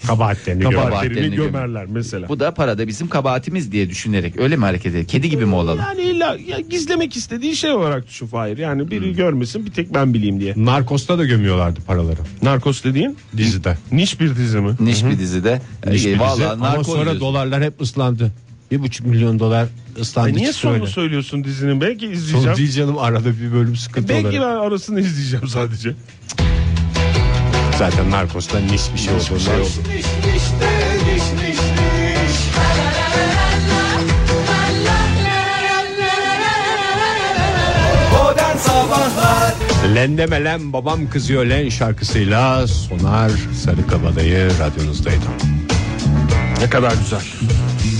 [SPEAKER 3] Kabahatlerini gömüyor.
[SPEAKER 2] Kabahatlerini
[SPEAKER 4] Kabahatlerini
[SPEAKER 2] gömer.
[SPEAKER 4] gömerler mesela.
[SPEAKER 2] Bu da parada bizim kabahatimiz diye düşünerek öyle mi hareket edelim? Kedi gibi mi olalım?
[SPEAKER 4] Yani illa ya gizlemek istediği şey olarak düşün Fahir. Yani biri
[SPEAKER 3] Hmm.
[SPEAKER 4] görmesin bir tek ben bileyim diye.
[SPEAKER 3] Narkosta da gömüyorlardı paraları
[SPEAKER 4] Narkos dediğin
[SPEAKER 3] dizide.
[SPEAKER 4] niş bir dizi mi?
[SPEAKER 2] Niş bir dizide.
[SPEAKER 3] Hiçbir
[SPEAKER 2] Ee,
[SPEAKER 3] dizi.
[SPEAKER 2] vallahi
[SPEAKER 3] Ama
[SPEAKER 2] narko
[SPEAKER 3] sonra
[SPEAKER 2] diyorsun.
[SPEAKER 3] dolarlar hep ıslandı. Bir buçuk milyon dolar ıslandı.
[SPEAKER 4] E niye
[SPEAKER 3] çıktı
[SPEAKER 4] sonunu
[SPEAKER 3] öyle.
[SPEAKER 4] söylüyorsun dizinin? Belki izleyeceğim.
[SPEAKER 3] Sonu değil canım arada bir bölüm sıkıntı
[SPEAKER 4] Belki
[SPEAKER 3] olarak.
[SPEAKER 4] ben arasını izleyeceğim sadece.
[SPEAKER 3] Zaten narkosta niş bir şey oldu.
[SPEAKER 5] Niş niş de, niş niş niş. Modern Sabahlar
[SPEAKER 3] Lendeme len babam kızıyor len şarkısıyla Sonar Sarıkabadayı radyonuzdaydı.
[SPEAKER 4] Ne kadar güzel.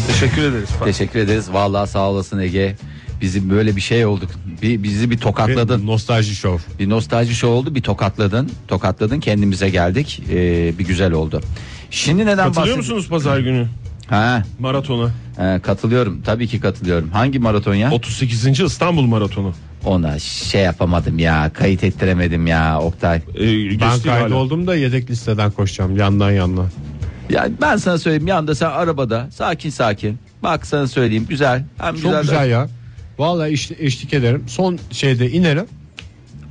[SPEAKER 4] Teşekkür ederiz.
[SPEAKER 2] Teşekkür ederiz. Vallahi sağ olasın Ege. Bizim böyle bir şey olduk. Bir, bizi bir tokatladın.
[SPEAKER 3] Bir Nostalji şov.
[SPEAKER 2] Bir nostalji şey oldu. Bir tokatladın. Tokatladın. Kendimize geldik. Ee, bir güzel oldu. Şimdi neden
[SPEAKER 4] Katılıyor
[SPEAKER 2] bahsediyoruz?
[SPEAKER 4] musunuz pazar günü
[SPEAKER 2] Ha,
[SPEAKER 4] maratona?
[SPEAKER 2] e, katılıyorum. Tabii ki katılıyorum. Hangi maraton ya?
[SPEAKER 4] 38. İstanbul maratonu.
[SPEAKER 2] Ona şey yapamadım ya. Kayıt ettiremedim ya Oktay.
[SPEAKER 4] Ee,
[SPEAKER 3] Ben
[SPEAKER 4] geçti hala.
[SPEAKER 3] kaydoldum da yedek listeden koşacağım yandan yandan.
[SPEAKER 2] Ya ben sana söyleyeyim. Yanda sen arabada sakin sakin. Bak sana söyleyeyim. Güzel. Hem
[SPEAKER 3] Çok güzel ya. Vallahi iş- eşlik ederim. Son şeyde inerim.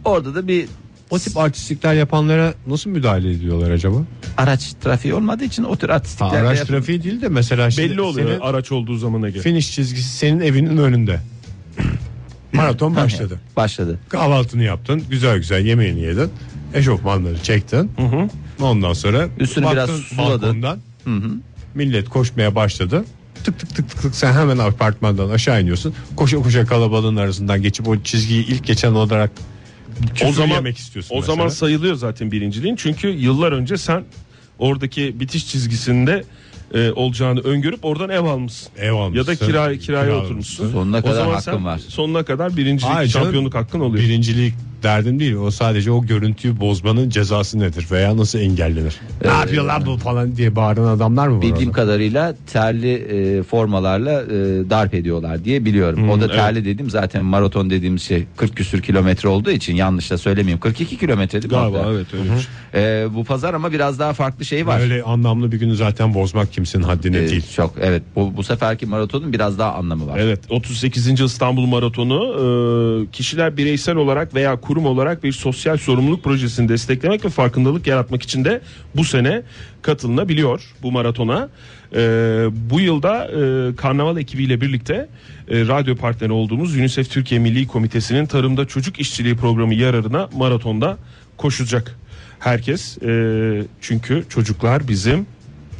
[SPEAKER 2] Orada da bir
[SPEAKER 3] O tip artistlikler yapanlara nasıl müdahale ediyorlar acaba?
[SPEAKER 2] araç trafiği olmadığı için o tür
[SPEAKER 3] Ha,
[SPEAKER 2] artistlikler de
[SPEAKER 3] araç
[SPEAKER 2] yap-
[SPEAKER 3] trafiği değil de mesela şimdi
[SPEAKER 4] Belli oluyor
[SPEAKER 3] senin
[SPEAKER 4] araç olduğu zamana göre.
[SPEAKER 3] finish çizgisi senin evinin önünde. (clears throat)
[SPEAKER 4] (laughs)
[SPEAKER 3] Maraton başladı.
[SPEAKER 2] Başladı.
[SPEAKER 3] Kahvaltını yaptın. Güzel güzel yemeğini yedin. Eşofmanları çektin. Ondan sonra
[SPEAKER 2] Üstünü biraz suladın.
[SPEAKER 3] balkondan. Millet koşmaya başladı. Tık tık tık tık tık sen hemen apartmandan aşağı iniyorsun. Koşa koşa kalabalığın arasından geçip o çizgiyi ilk geçen olarak küfür
[SPEAKER 4] o zaman
[SPEAKER 3] yemek istiyorsun.
[SPEAKER 4] O
[SPEAKER 3] mesela.
[SPEAKER 4] zaman sayılıyor zaten birinciliğin. Çünkü yıllar önce sen oradaki bitiş çizgisinde e, olacağını öngörüp oradan ev almışsın.
[SPEAKER 3] Ev almışsın,
[SPEAKER 4] Ya da kira kiraya
[SPEAKER 3] kiralamışsın.
[SPEAKER 4] oturmuşsun.
[SPEAKER 2] Sonuna kadar
[SPEAKER 4] zaman
[SPEAKER 2] hakkın
[SPEAKER 4] sen
[SPEAKER 2] var.
[SPEAKER 4] Sonuna kadar birincilik,
[SPEAKER 3] Hayır canım,
[SPEAKER 4] şampiyonluk hakkın oluyor.
[SPEAKER 3] Birincilik derdim değil. O sadece o görüntüyü bozmanın cezası nedir veya nasıl engellenir?
[SPEAKER 4] Ee,
[SPEAKER 3] ne yapıyorlar bu falan diye bağıran adamlar mı var?
[SPEAKER 2] Bildiğim
[SPEAKER 3] orada?
[SPEAKER 2] kadarıyla terli e, formalarla e, darp ediyorlar diye biliyorum. o da terli dediğim zaten maraton dediğimiz şey 40 küsür kilometre olduğu için yanlış da söylemeyeyim. 42 kilometre değil mi?
[SPEAKER 4] Galiba
[SPEAKER 2] Oktay?
[SPEAKER 4] evet öyle bir şey.
[SPEAKER 2] E, bu pazar ama biraz daha farklı şey var.
[SPEAKER 3] Öyle anlamlı bir günü zaten bozmak kimsenin haddine
[SPEAKER 2] E,
[SPEAKER 3] değil.
[SPEAKER 2] çok evet. Bu, bu seferki maratonun biraz daha anlamı var.
[SPEAKER 4] Evet 38. İstanbul Maratonu e, kişiler bireysel olarak veya kurum olarak bir sosyal sorumluluk projesini desteklemek ve farkındalık yaratmak için de bu sene katılınabiliyor bu maratona. E, bu yılda e, karnaval ekibiyle birlikte e, radyo partneri olduğumuz UNICEF Türkiye Milli Komitesi'nin tarımda çocuk işçiliği programı yararına maratonda koşacak. herkes. E, çünkü çocuklar bizim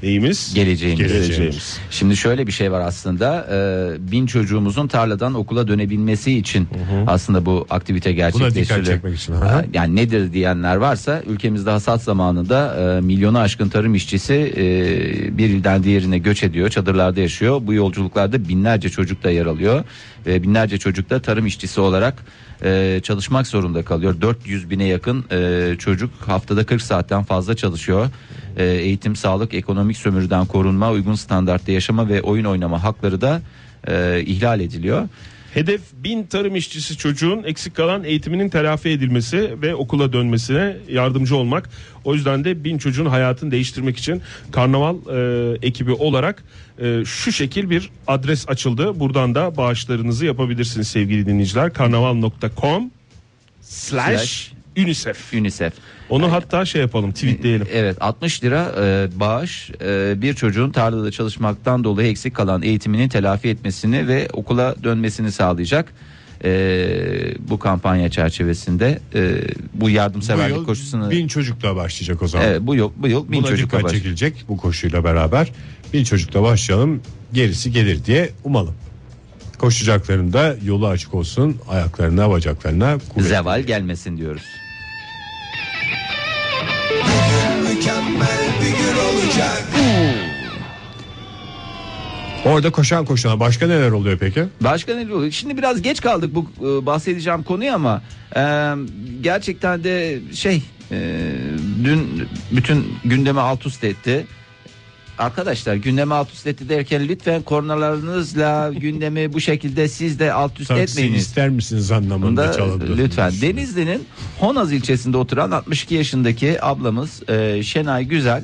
[SPEAKER 4] neyimiz?
[SPEAKER 2] Geleceğimiz.
[SPEAKER 4] Geleceğimiz.
[SPEAKER 2] Şimdi şöyle bir şey var aslında e, bin çocuğumuzun tarladan okula dönebilmesi için aslında bu aktivite gerçekleştiriliyor.
[SPEAKER 3] çekmek için, aha.
[SPEAKER 2] E, Yani nedir diyenler varsa ülkemizde hasat zamanında e, milyonu aşkın tarım işçisi e, bir ilden diğerine göç ediyor çadırlarda yaşıyor. Bu yolculuklarda binlerce çocuk da yer alıyor ve binlerce çocuk da tarım işçisi olarak e, çalışmak zorunda kalıyor. 400 bine yakın e, çocuk haftada 40 saatten fazla çalışıyor. E, eğitim, sağlık, ekonomik sömürüden korunma, uygun standartta yaşama ve oyun oynama hakları da e, ihlal ediliyor.
[SPEAKER 4] Hedef bin tarım işçisi çocuğun eksik kalan eğitiminin telafi edilmesi ve okula dönmesine yardımcı olmak. O yüzden de bin çocuğun hayatını değiştirmek için karnaval e, ekibi olarak e, şu şekil bir adres açıldı. Buradan da bağışlarınızı yapabilirsiniz sevgili dinleyiciler. Karnaval.com slash UNICEF.
[SPEAKER 2] UNICEF.
[SPEAKER 4] Onu hatta şey yapalım tweetleyelim.
[SPEAKER 2] Evet 60 lira e, bağış e, bir çocuğun tarlada çalışmaktan dolayı eksik kalan eğitimini telafi etmesini ve okula dönmesini sağlayacak. E, bu kampanya çerçevesinde e, bu
[SPEAKER 3] Bu
[SPEAKER 2] yardımseverlik
[SPEAKER 3] yıl
[SPEAKER 2] koşusunu
[SPEAKER 3] bin çocukla başlayacak o zaman.
[SPEAKER 2] Evet, bu yok bu yok bin
[SPEAKER 3] Buna
[SPEAKER 2] çocuk
[SPEAKER 3] dikkat çekilecek bu koşuyla beraber. Bin çocukla başlayalım gerisi gelir diye umalım. Koşacaklarında yolu açık olsun ayaklarına bacaklarına kuvvet.
[SPEAKER 2] zeval gelmesin diyoruz.
[SPEAKER 5] Mükemmel bir gün olacak
[SPEAKER 3] Orada koşan koşana başka neler oluyor peki?
[SPEAKER 2] Başka ne oluyor? Şimdi biraz geç kaldık bu e, bahsedeceğim konuya ama e, gerçekten de şey e, dün bütün gündeme alt üst etti. Arkadaşlar gündeme alt üst etti derken lütfen kornalarınızla gündemi bu şekilde siz de alt üst
[SPEAKER 3] Taksi
[SPEAKER 2] etmeyiniz.
[SPEAKER 3] ister misiniz anlamında
[SPEAKER 2] Bunda, e,
[SPEAKER 3] çalındı.
[SPEAKER 2] lütfen Denizli'nin Honaz ilçesinde oturan 62 yaşındaki ablamız e, Şenay Güzel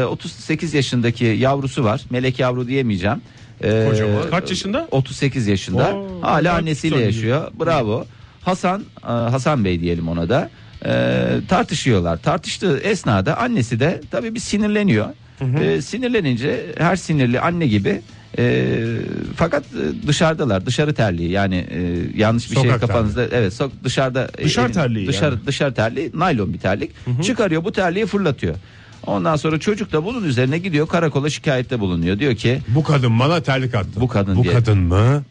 [SPEAKER 2] e, 38 yaşındaki yavrusu var melek yavru diyemeyeceğim E,
[SPEAKER 3] Kocaman.
[SPEAKER 4] Kaç yaşında?
[SPEAKER 2] 38 yaşında.
[SPEAKER 4] Oo,
[SPEAKER 2] Hala
[SPEAKER 4] güzel,
[SPEAKER 2] annesiyle
[SPEAKER 4] güzel.
[SPEAKER 2] yaşıyor. Bravo. Hasan e, Hasan Bey diyelim ona da. e, tartışıyorlar. Tartıştığı esnada annesi de tabii bir sinirleniyor. E, sinirlenince her sinirli anne gibi e, fakat e, dışarıdalar. Dışarı terliği yani e, yanlış bir
[SPEAKER 3] Sokak
[SPEAKER 2] şey kafanızda evet sok dışarıda e,
[SPEAKER 4] Dışarı
[SPEAKER 2] evin-
[SPEAKER 4] terliği
[SPEAKER 2] dışarı
[SPEAKER 4] yani.
[SPEAKER 2] dışarı terliği naylon bir terlik. Çıkarıyor bu terliği fırlatıyor. Ondan sonra çocuk da bunun üzerine gidiyor karakola şikayette bulunuyor. Diyor ki
[SPEAKER 3] Bu kadın bana terlik attı.
[SPEAKER 2] Bu kadın
[SPEAKER 3] Bu
[SPEAKER 2] diye.
[SPEAKER 3] kadın mı?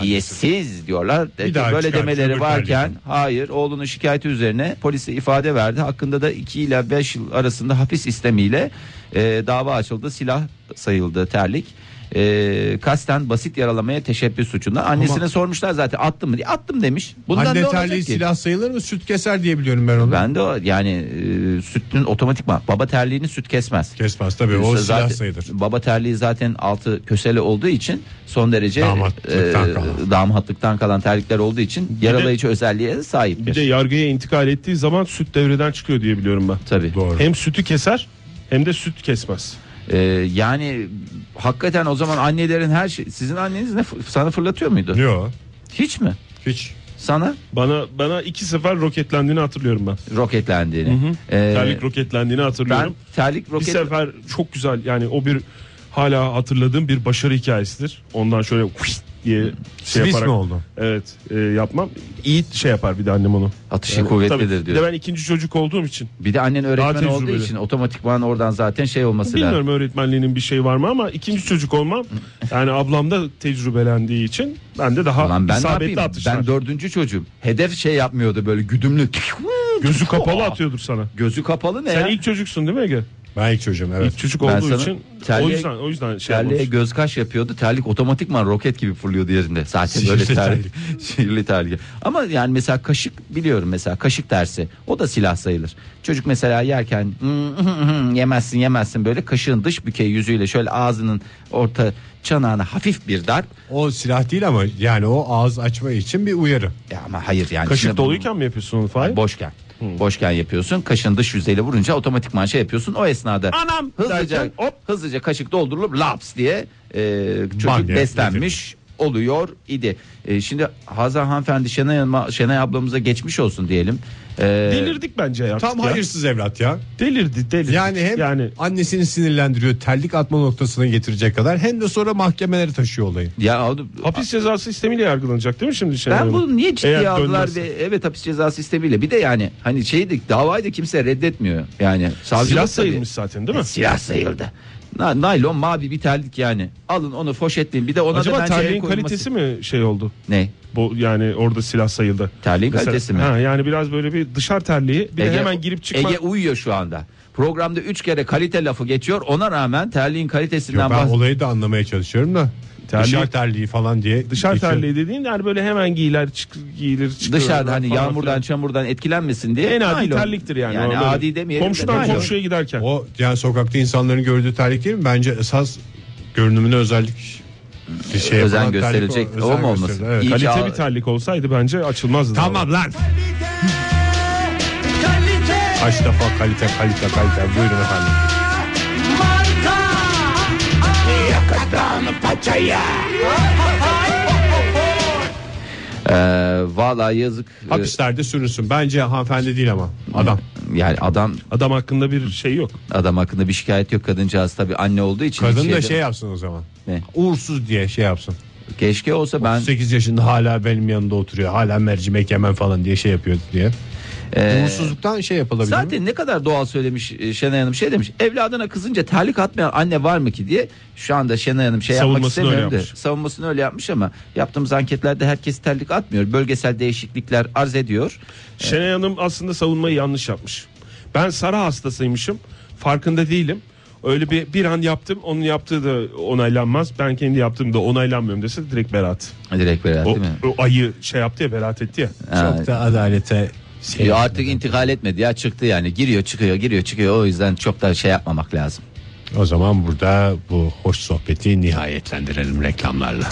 [SPEAKER 2] terbiyesiz diyorlar.
[SPEAKER 3] Bir daha
[SPEAKER 2] Böyle
[SPEAKER 3] çıkar,
[SPEAKER 2] demeleri
[SPEAKER 3] öbür
[SPEAKER 2] varken
[SPEAKER 3] kardeşim.
[SPEAKER 2] hayır oğlunun şikayeti üzerine polise ifade verdi. Hakkında da 2 ile 5 yıl arasında hapis istemiyle e, dava açıldı. Silah sayıldı terlik. E, kasten basit yaralamaya teşebbüs suçunda annesine
[SPEAKER 3] Ama-
[SPEAKER 2] sormuşlar zaten attım mı diye attım demiş. Bundan ne
[SPEAKER 3] Anne
[SPEAKER 2] olacak
[SPEAKER 3] terliği
[SPEAKER 2] ki?
[SPEAKER 3] silah sayılır mı? Süt keser diye biliyorum ben onu.
[SPEAKER 2] Ben de o, yani e, sütün otomatikman baba terliğini süt kesmez.
[SPEAKER 3] Kesmez tabii o
[SPEAKER 2] Zaten-
[SPEAKER 3] silah sayılır.
[SPEAKER 2] Baba terliği zaten altı kösele olduğu için son derece e,
[SPEAKER 3] Damatlıktan kalan.
[SPEAKER 2] damatlıktan kalan terlikler olduğu için yaralayıcı özelliğe sahiptir.
[SPEAKER 4] Bir de yargıya intikal ettiği zaman süt devreden çıkıyor diye biliyorum ben.
[SPEAKER 2] Tabii.
[SPEAKER 3] Doğru.
[SPEAKER 4] Hem sütü keser hem de süt kesmez.
[SPEAKER 2] Ee, yani hakikaten o zaman annelerin her şey sizin anneniz ne fı- sana fırlatıyor muydu?
[SPEAKER 3] Yok
[SPEAKER 2] Hiç mi?
[SPEAKER 3] hiç.
[SPEAKER 2] Sana
[SPEAKER 4] Bana bana iki sefer roketlendiğini hatırlıyorum ben.
[SPEAKER 2] roketlendiğini. Ee,
[SPEAKER 4] Terlik roketlendiğini
[SPEAKER 2] ben
[SPEAKER 4] hatırlıyorum.
[SPEAKER 2] terlik
[SPEAKER 4] Bir
[SPEAKER 2] roket
[SPEAKER 4] sefer çok güzel yani o bir hala hatırladığım bir başarı hikayesidir. Ondan şöyle huş diye şey
[SPEAKER 3] Swiss
[SPEAKER 4] yaparak.
[SPEAKER 3] mi oldu?
[SPEAKER 4] Evet e, yapmam. İyi şey yapar bir de annem onu.
[SPEAKER 2] atışı
[SPEAKER 4] Yani tabii,
[SPEAKER 2] kuvvetlidir
[SPEAKER 4] Bir de
[SPEAKER 2] diyor.
[SPEAKER 4] ben ikinci çocuk olduğum için.
[SPEAKER 2] Bir de annen öğretmen
[SPEAKER 4] Daha
[SPEAKER 2] olduğu
[SPEAKER 4] tecrübeli.
[SPEAKER 2] için otomatikman oradan zaten şey olması lazım.
[SPEAKER 4] Bilmiyorum öğretmenliğinin bir şey var mı ama ikinci çocuk olmam yani ablam da tecrübelendiği için ben de daha
[SPEAKER 2] Ulan ben ne
[SPEAKER 4] isabetli
[SPEAKER 2] yapayım?
[SPEAKER 4] atışlar.
[SPEAKER 2] Ben dördüncü çocuğum. Hedef şey yapmıyordu böyle güdümlü.
[SPEAKER 4] Gözü kapalı atıyordur sana.
[SPEAKER 2] Gözü kapalı ne
[SPEAKER 4] Sen
[SPEAKER 2] ya?
[SPEAKER 4] ilk çocuksun değil mi Ege?
[SPEAKER 3] Ben ilk çocuğum evet.
[SPEAKER 4] İlk çocuk
[SPEAKER 2] Ben
[SPEAKER 4] olduğu
[SPEAKER 2] sana
[SPEAKER 4] için o
[SPEAKER 2] terliğe-
[SPEAKER 4] yüzden o yüzden şey
[SPEAKER 2] Terliğe
[SPEAKER 4] yapmış.
[SPEAKER 2] göz kaş yapıyordu. Terlik otomatikman roket gibi fırlıyordu yerinde. Zaten böyle
[SPEAKER 3] Sihirli
[SPEAKER 2] terlik. (laughs) Sihirli terlik. Ama yani mesela kaşık biliyorum mesela kaşık dersi. O da silah sayılır. Çocuk mesela yerken "Hmm, yemezsin yemezsin böyle kaşığın dış bükeyi yüzüyle şöyle ağzının orta çanağına hafif bir darp.
[SPEAKER 3] O silah değil ama yani o ağız açma için bir uyarı.
[SPEAKER 2] Ya ama hayır yani.
[SPEAKER 4] Kaşık
[SPEAKER 2] şimdi bu-
[SPEAKER 4] doluyken mi yapıyorsun onu Fahir?
[SPEAKER 2] Boşken. Boşken yapıyorsun. Kaşın dış yüzeyle vurunca otomatikman şey yapıyorsun. O esnada
[SPEAKER 4] Anam
[SPEAKER 2] hızlıca
[SPEAKER 4] derken hop.
[SPEAKER 2] hızlıca kaşık doldurulup laps diye e, çocuk
[SPEAKER 3] Banyo
[SPEAKER 2] beslenmiş, oluyor idi. E, şimdi Hazar hanımefendi Şenay, Hanım'a- Şenay ablamıza geçmiş olsun diyelim. E,
[SPEAKER 4] Delirdik bence ya.
[SPEAKER 3] Tam
[SPEAKER 4] ya.
[SPEAKER 3] hayırsız evlat ya.
[SPEAKER 4] Delirdi delirdi.
[SPEAKER 3] Yani hem
[SPEAKER 4] yani
[SPEAKER 3] annesini sinirlendiriyor terlik atma noktasına getirecek kadar hem de sonra mahkemelere taşıyor olayı.
[SPEAKER 2] ya
[SPEAKER 4] hapis cezası sistemiyle yargılanacak değil mi şimdi Şenay
[SPEAKER 2] Ben
[SPEAKER 4] Hanım?
[SPEAKER 2] bunu niye ciddiye
[SPEAKER 4] Eğer
[SPEAKER 2] aldılar
[SPEAKER 4] dönmezse.
[SPEAKER 2] ve evet hapis cezası sistemiyle bir de yani hani şeydik davayı da kimse reddetmiyor. Yani savcılık
[SPEAKER 4] Silah
[SPEAKER 2] tabii-
[SPEAKER 4] sayılmış zaten değil mi?
[SPEAKER 2] Silah sayıldı. Na- naylon mavi bir terlik yani. Alın onu foşetleyin bir de ona da
[SPEAKER 4] Acaba
[SPEAKER 2] bence el
[SPEAKER 4] terliğin
[SPEAKER 2] koyulması-
[SPEAKER 4] kalitesi mi şey oldu?
[SPEAKER 2] ne?
[SPEAKER 4] Bu yani orada silah sayıldı.
[SPEAKER 2] Terliğin kalitesi mi?
[SPEAKER 4] Ha, yani biraz böyle bir dışarı terliği bir de
[SPEAKER 2] Ege-
[SPEAKER 4] hemen girip çıkma.
[SPEAKER 2] Ege uyuyor şu anda. Programda 3 kere kalite lafı geçiyor. Ona rağmen terliğin
[SPEAKER 3] Yok,
[SPEAKER 2] kalitesinden
[SPEAKER 3] ben
[SPEAKER 2] bahs-
[SPEAKER 3] olayı da anlamaya çalışıyorum da.
[SPEAKER 4] Terlik-
[SPEAKER 3] Dışarı terliği falan diye.
[SPEAKER 4] Dışarı
[SPEAKER 3] geçiyor.
[SPEAKER 4] terliği dediğin yani böyle hemen giyiler çık, giyilir çıkılır.
[SPEAKER 2] dışarıda hani
[SPEAKER 4] falan
[SPEAKER 2] yağmurdan
[SPEAKER 4] filan.
[SPEAKER 2] çamurdan etkilenmesin diye
[SPEAKER 4] En adi
[SPEAKER 2] naylon.
[SPEAKER 4] terliktir yani.
[SPEAKER 2] Yani
[SPEAKER 4] Öyle.
[SPEAKER 2] adi demeyelim. de
[SPEAKER 4] Komşudan
[SPEAKER 2] naylon.
[SPEAKER 4] komşuya giderken.
[SPEAKER 3] O yani sokakta insanların gördüğü terlik değil mi? Bence esas görünümüne özellik bir şey
[SPEAKER 2] Özen
[SPEAKER 3] yapılan
[SPEAKER 2] gösterilecek
[SPEAKER 3] terlik
[SPEAKER 2] o mu olması?
[SPEAKER 3] gösterilir, evet.
[SPEAKER 2] İyi.
[SPEAKER 4] Kalite
[SPEAKER 2] Ya-
[SPEAKER 4] bir terlik olsaydı bence açılmazdı.
[SPEAKER 3] Tamam lan.
[SPEAKER 5] Kalite
[SPEAKER 3] Kaç defa kalite kalite kalite. Buyurun efendim.
[SPEAKER 5] marka
[SPEAKER 2] Ee, vallahi yazık. Ee,
[SPEAKER 3] Hapislerde sürünsün. Bence hanımefendi değil ama adam.
[SPEAKER 2] Ee, Yani adam
[SPEAKER 4] Adam hakkında bir şey yok.
[SPEAKER 2] adam hakkında bir şikayet yok kadıncağız tabi anne olduğu için.
[SPEAKER 3] Kadın
[SPEAKER 2] hiç
[SPEAKER 3] da
[SPEAKER 2] şeyde-
[SPEAKER 3] şey yapsın o zaman.
[SPEAKER 2] Ne?
[SPEAKER 3] Uğursuz diye şey yapsın.
[SPEAKER 2] Keşke olsa ben
[SPEAKER 3] 8 yaşında hala benim yanında oturuyor. Hala mercimek yemem falan diye şey yapıyor diye.
[SPEAKER 2] Ee,
[SPEAKER 3] Uğursuzluktan şey yapılabilir mi?
[SPEAKER 2] Zaten ne kadar doğal söylemiş e, Şenay Hanım şey demiş. Evladına kızınca terlik atmayan anne var mı ki diye. Şu anda Şenay Hanım şey yapmak
[SPEAKER 4] Savunmasını öyle
[SPEAKER 2] istemiyorum da.
[SPEAKER 4] yapmış.
[SPEAKER 2] Savunmasını öyle yapmış ama yaptığımız anketlerde herkes terlik atmıyor. Bölgesel değişiklikler arz ediyor.
[SPEAKER 4] Şenay Hanım aslında savunmayı yanlış yapmış. Ben Sara hastasıymışım. Farkında değilim. Öyle bir bir an yaptım. Onun yaptığı da onaylanmaz. Ben kendi yaptığım da onaylanmıyorum dese direkt beraat.
[SPEAKER 2] Direkt böyle
[SPEAKER 4] O,
[SPEAKER 2] değil mi?
[SPEAKER 4] o ayı şey yaptı ya beraat etti ya.
[SPEAKER 2] Ha,
[SPEAKER 3] Çok da adalete şey
[SPEAKER 4] şey
[SPEAKER 2] e, artık intikal etmedi ya çıktı yani giriyor çıkıyor giriyor çıkıyor o yüzden çok da şey yapmamak lazım.
[SPEAKER 3] O zaman burada bu hoş sohbeti nihayetlendirelim reklamlarla.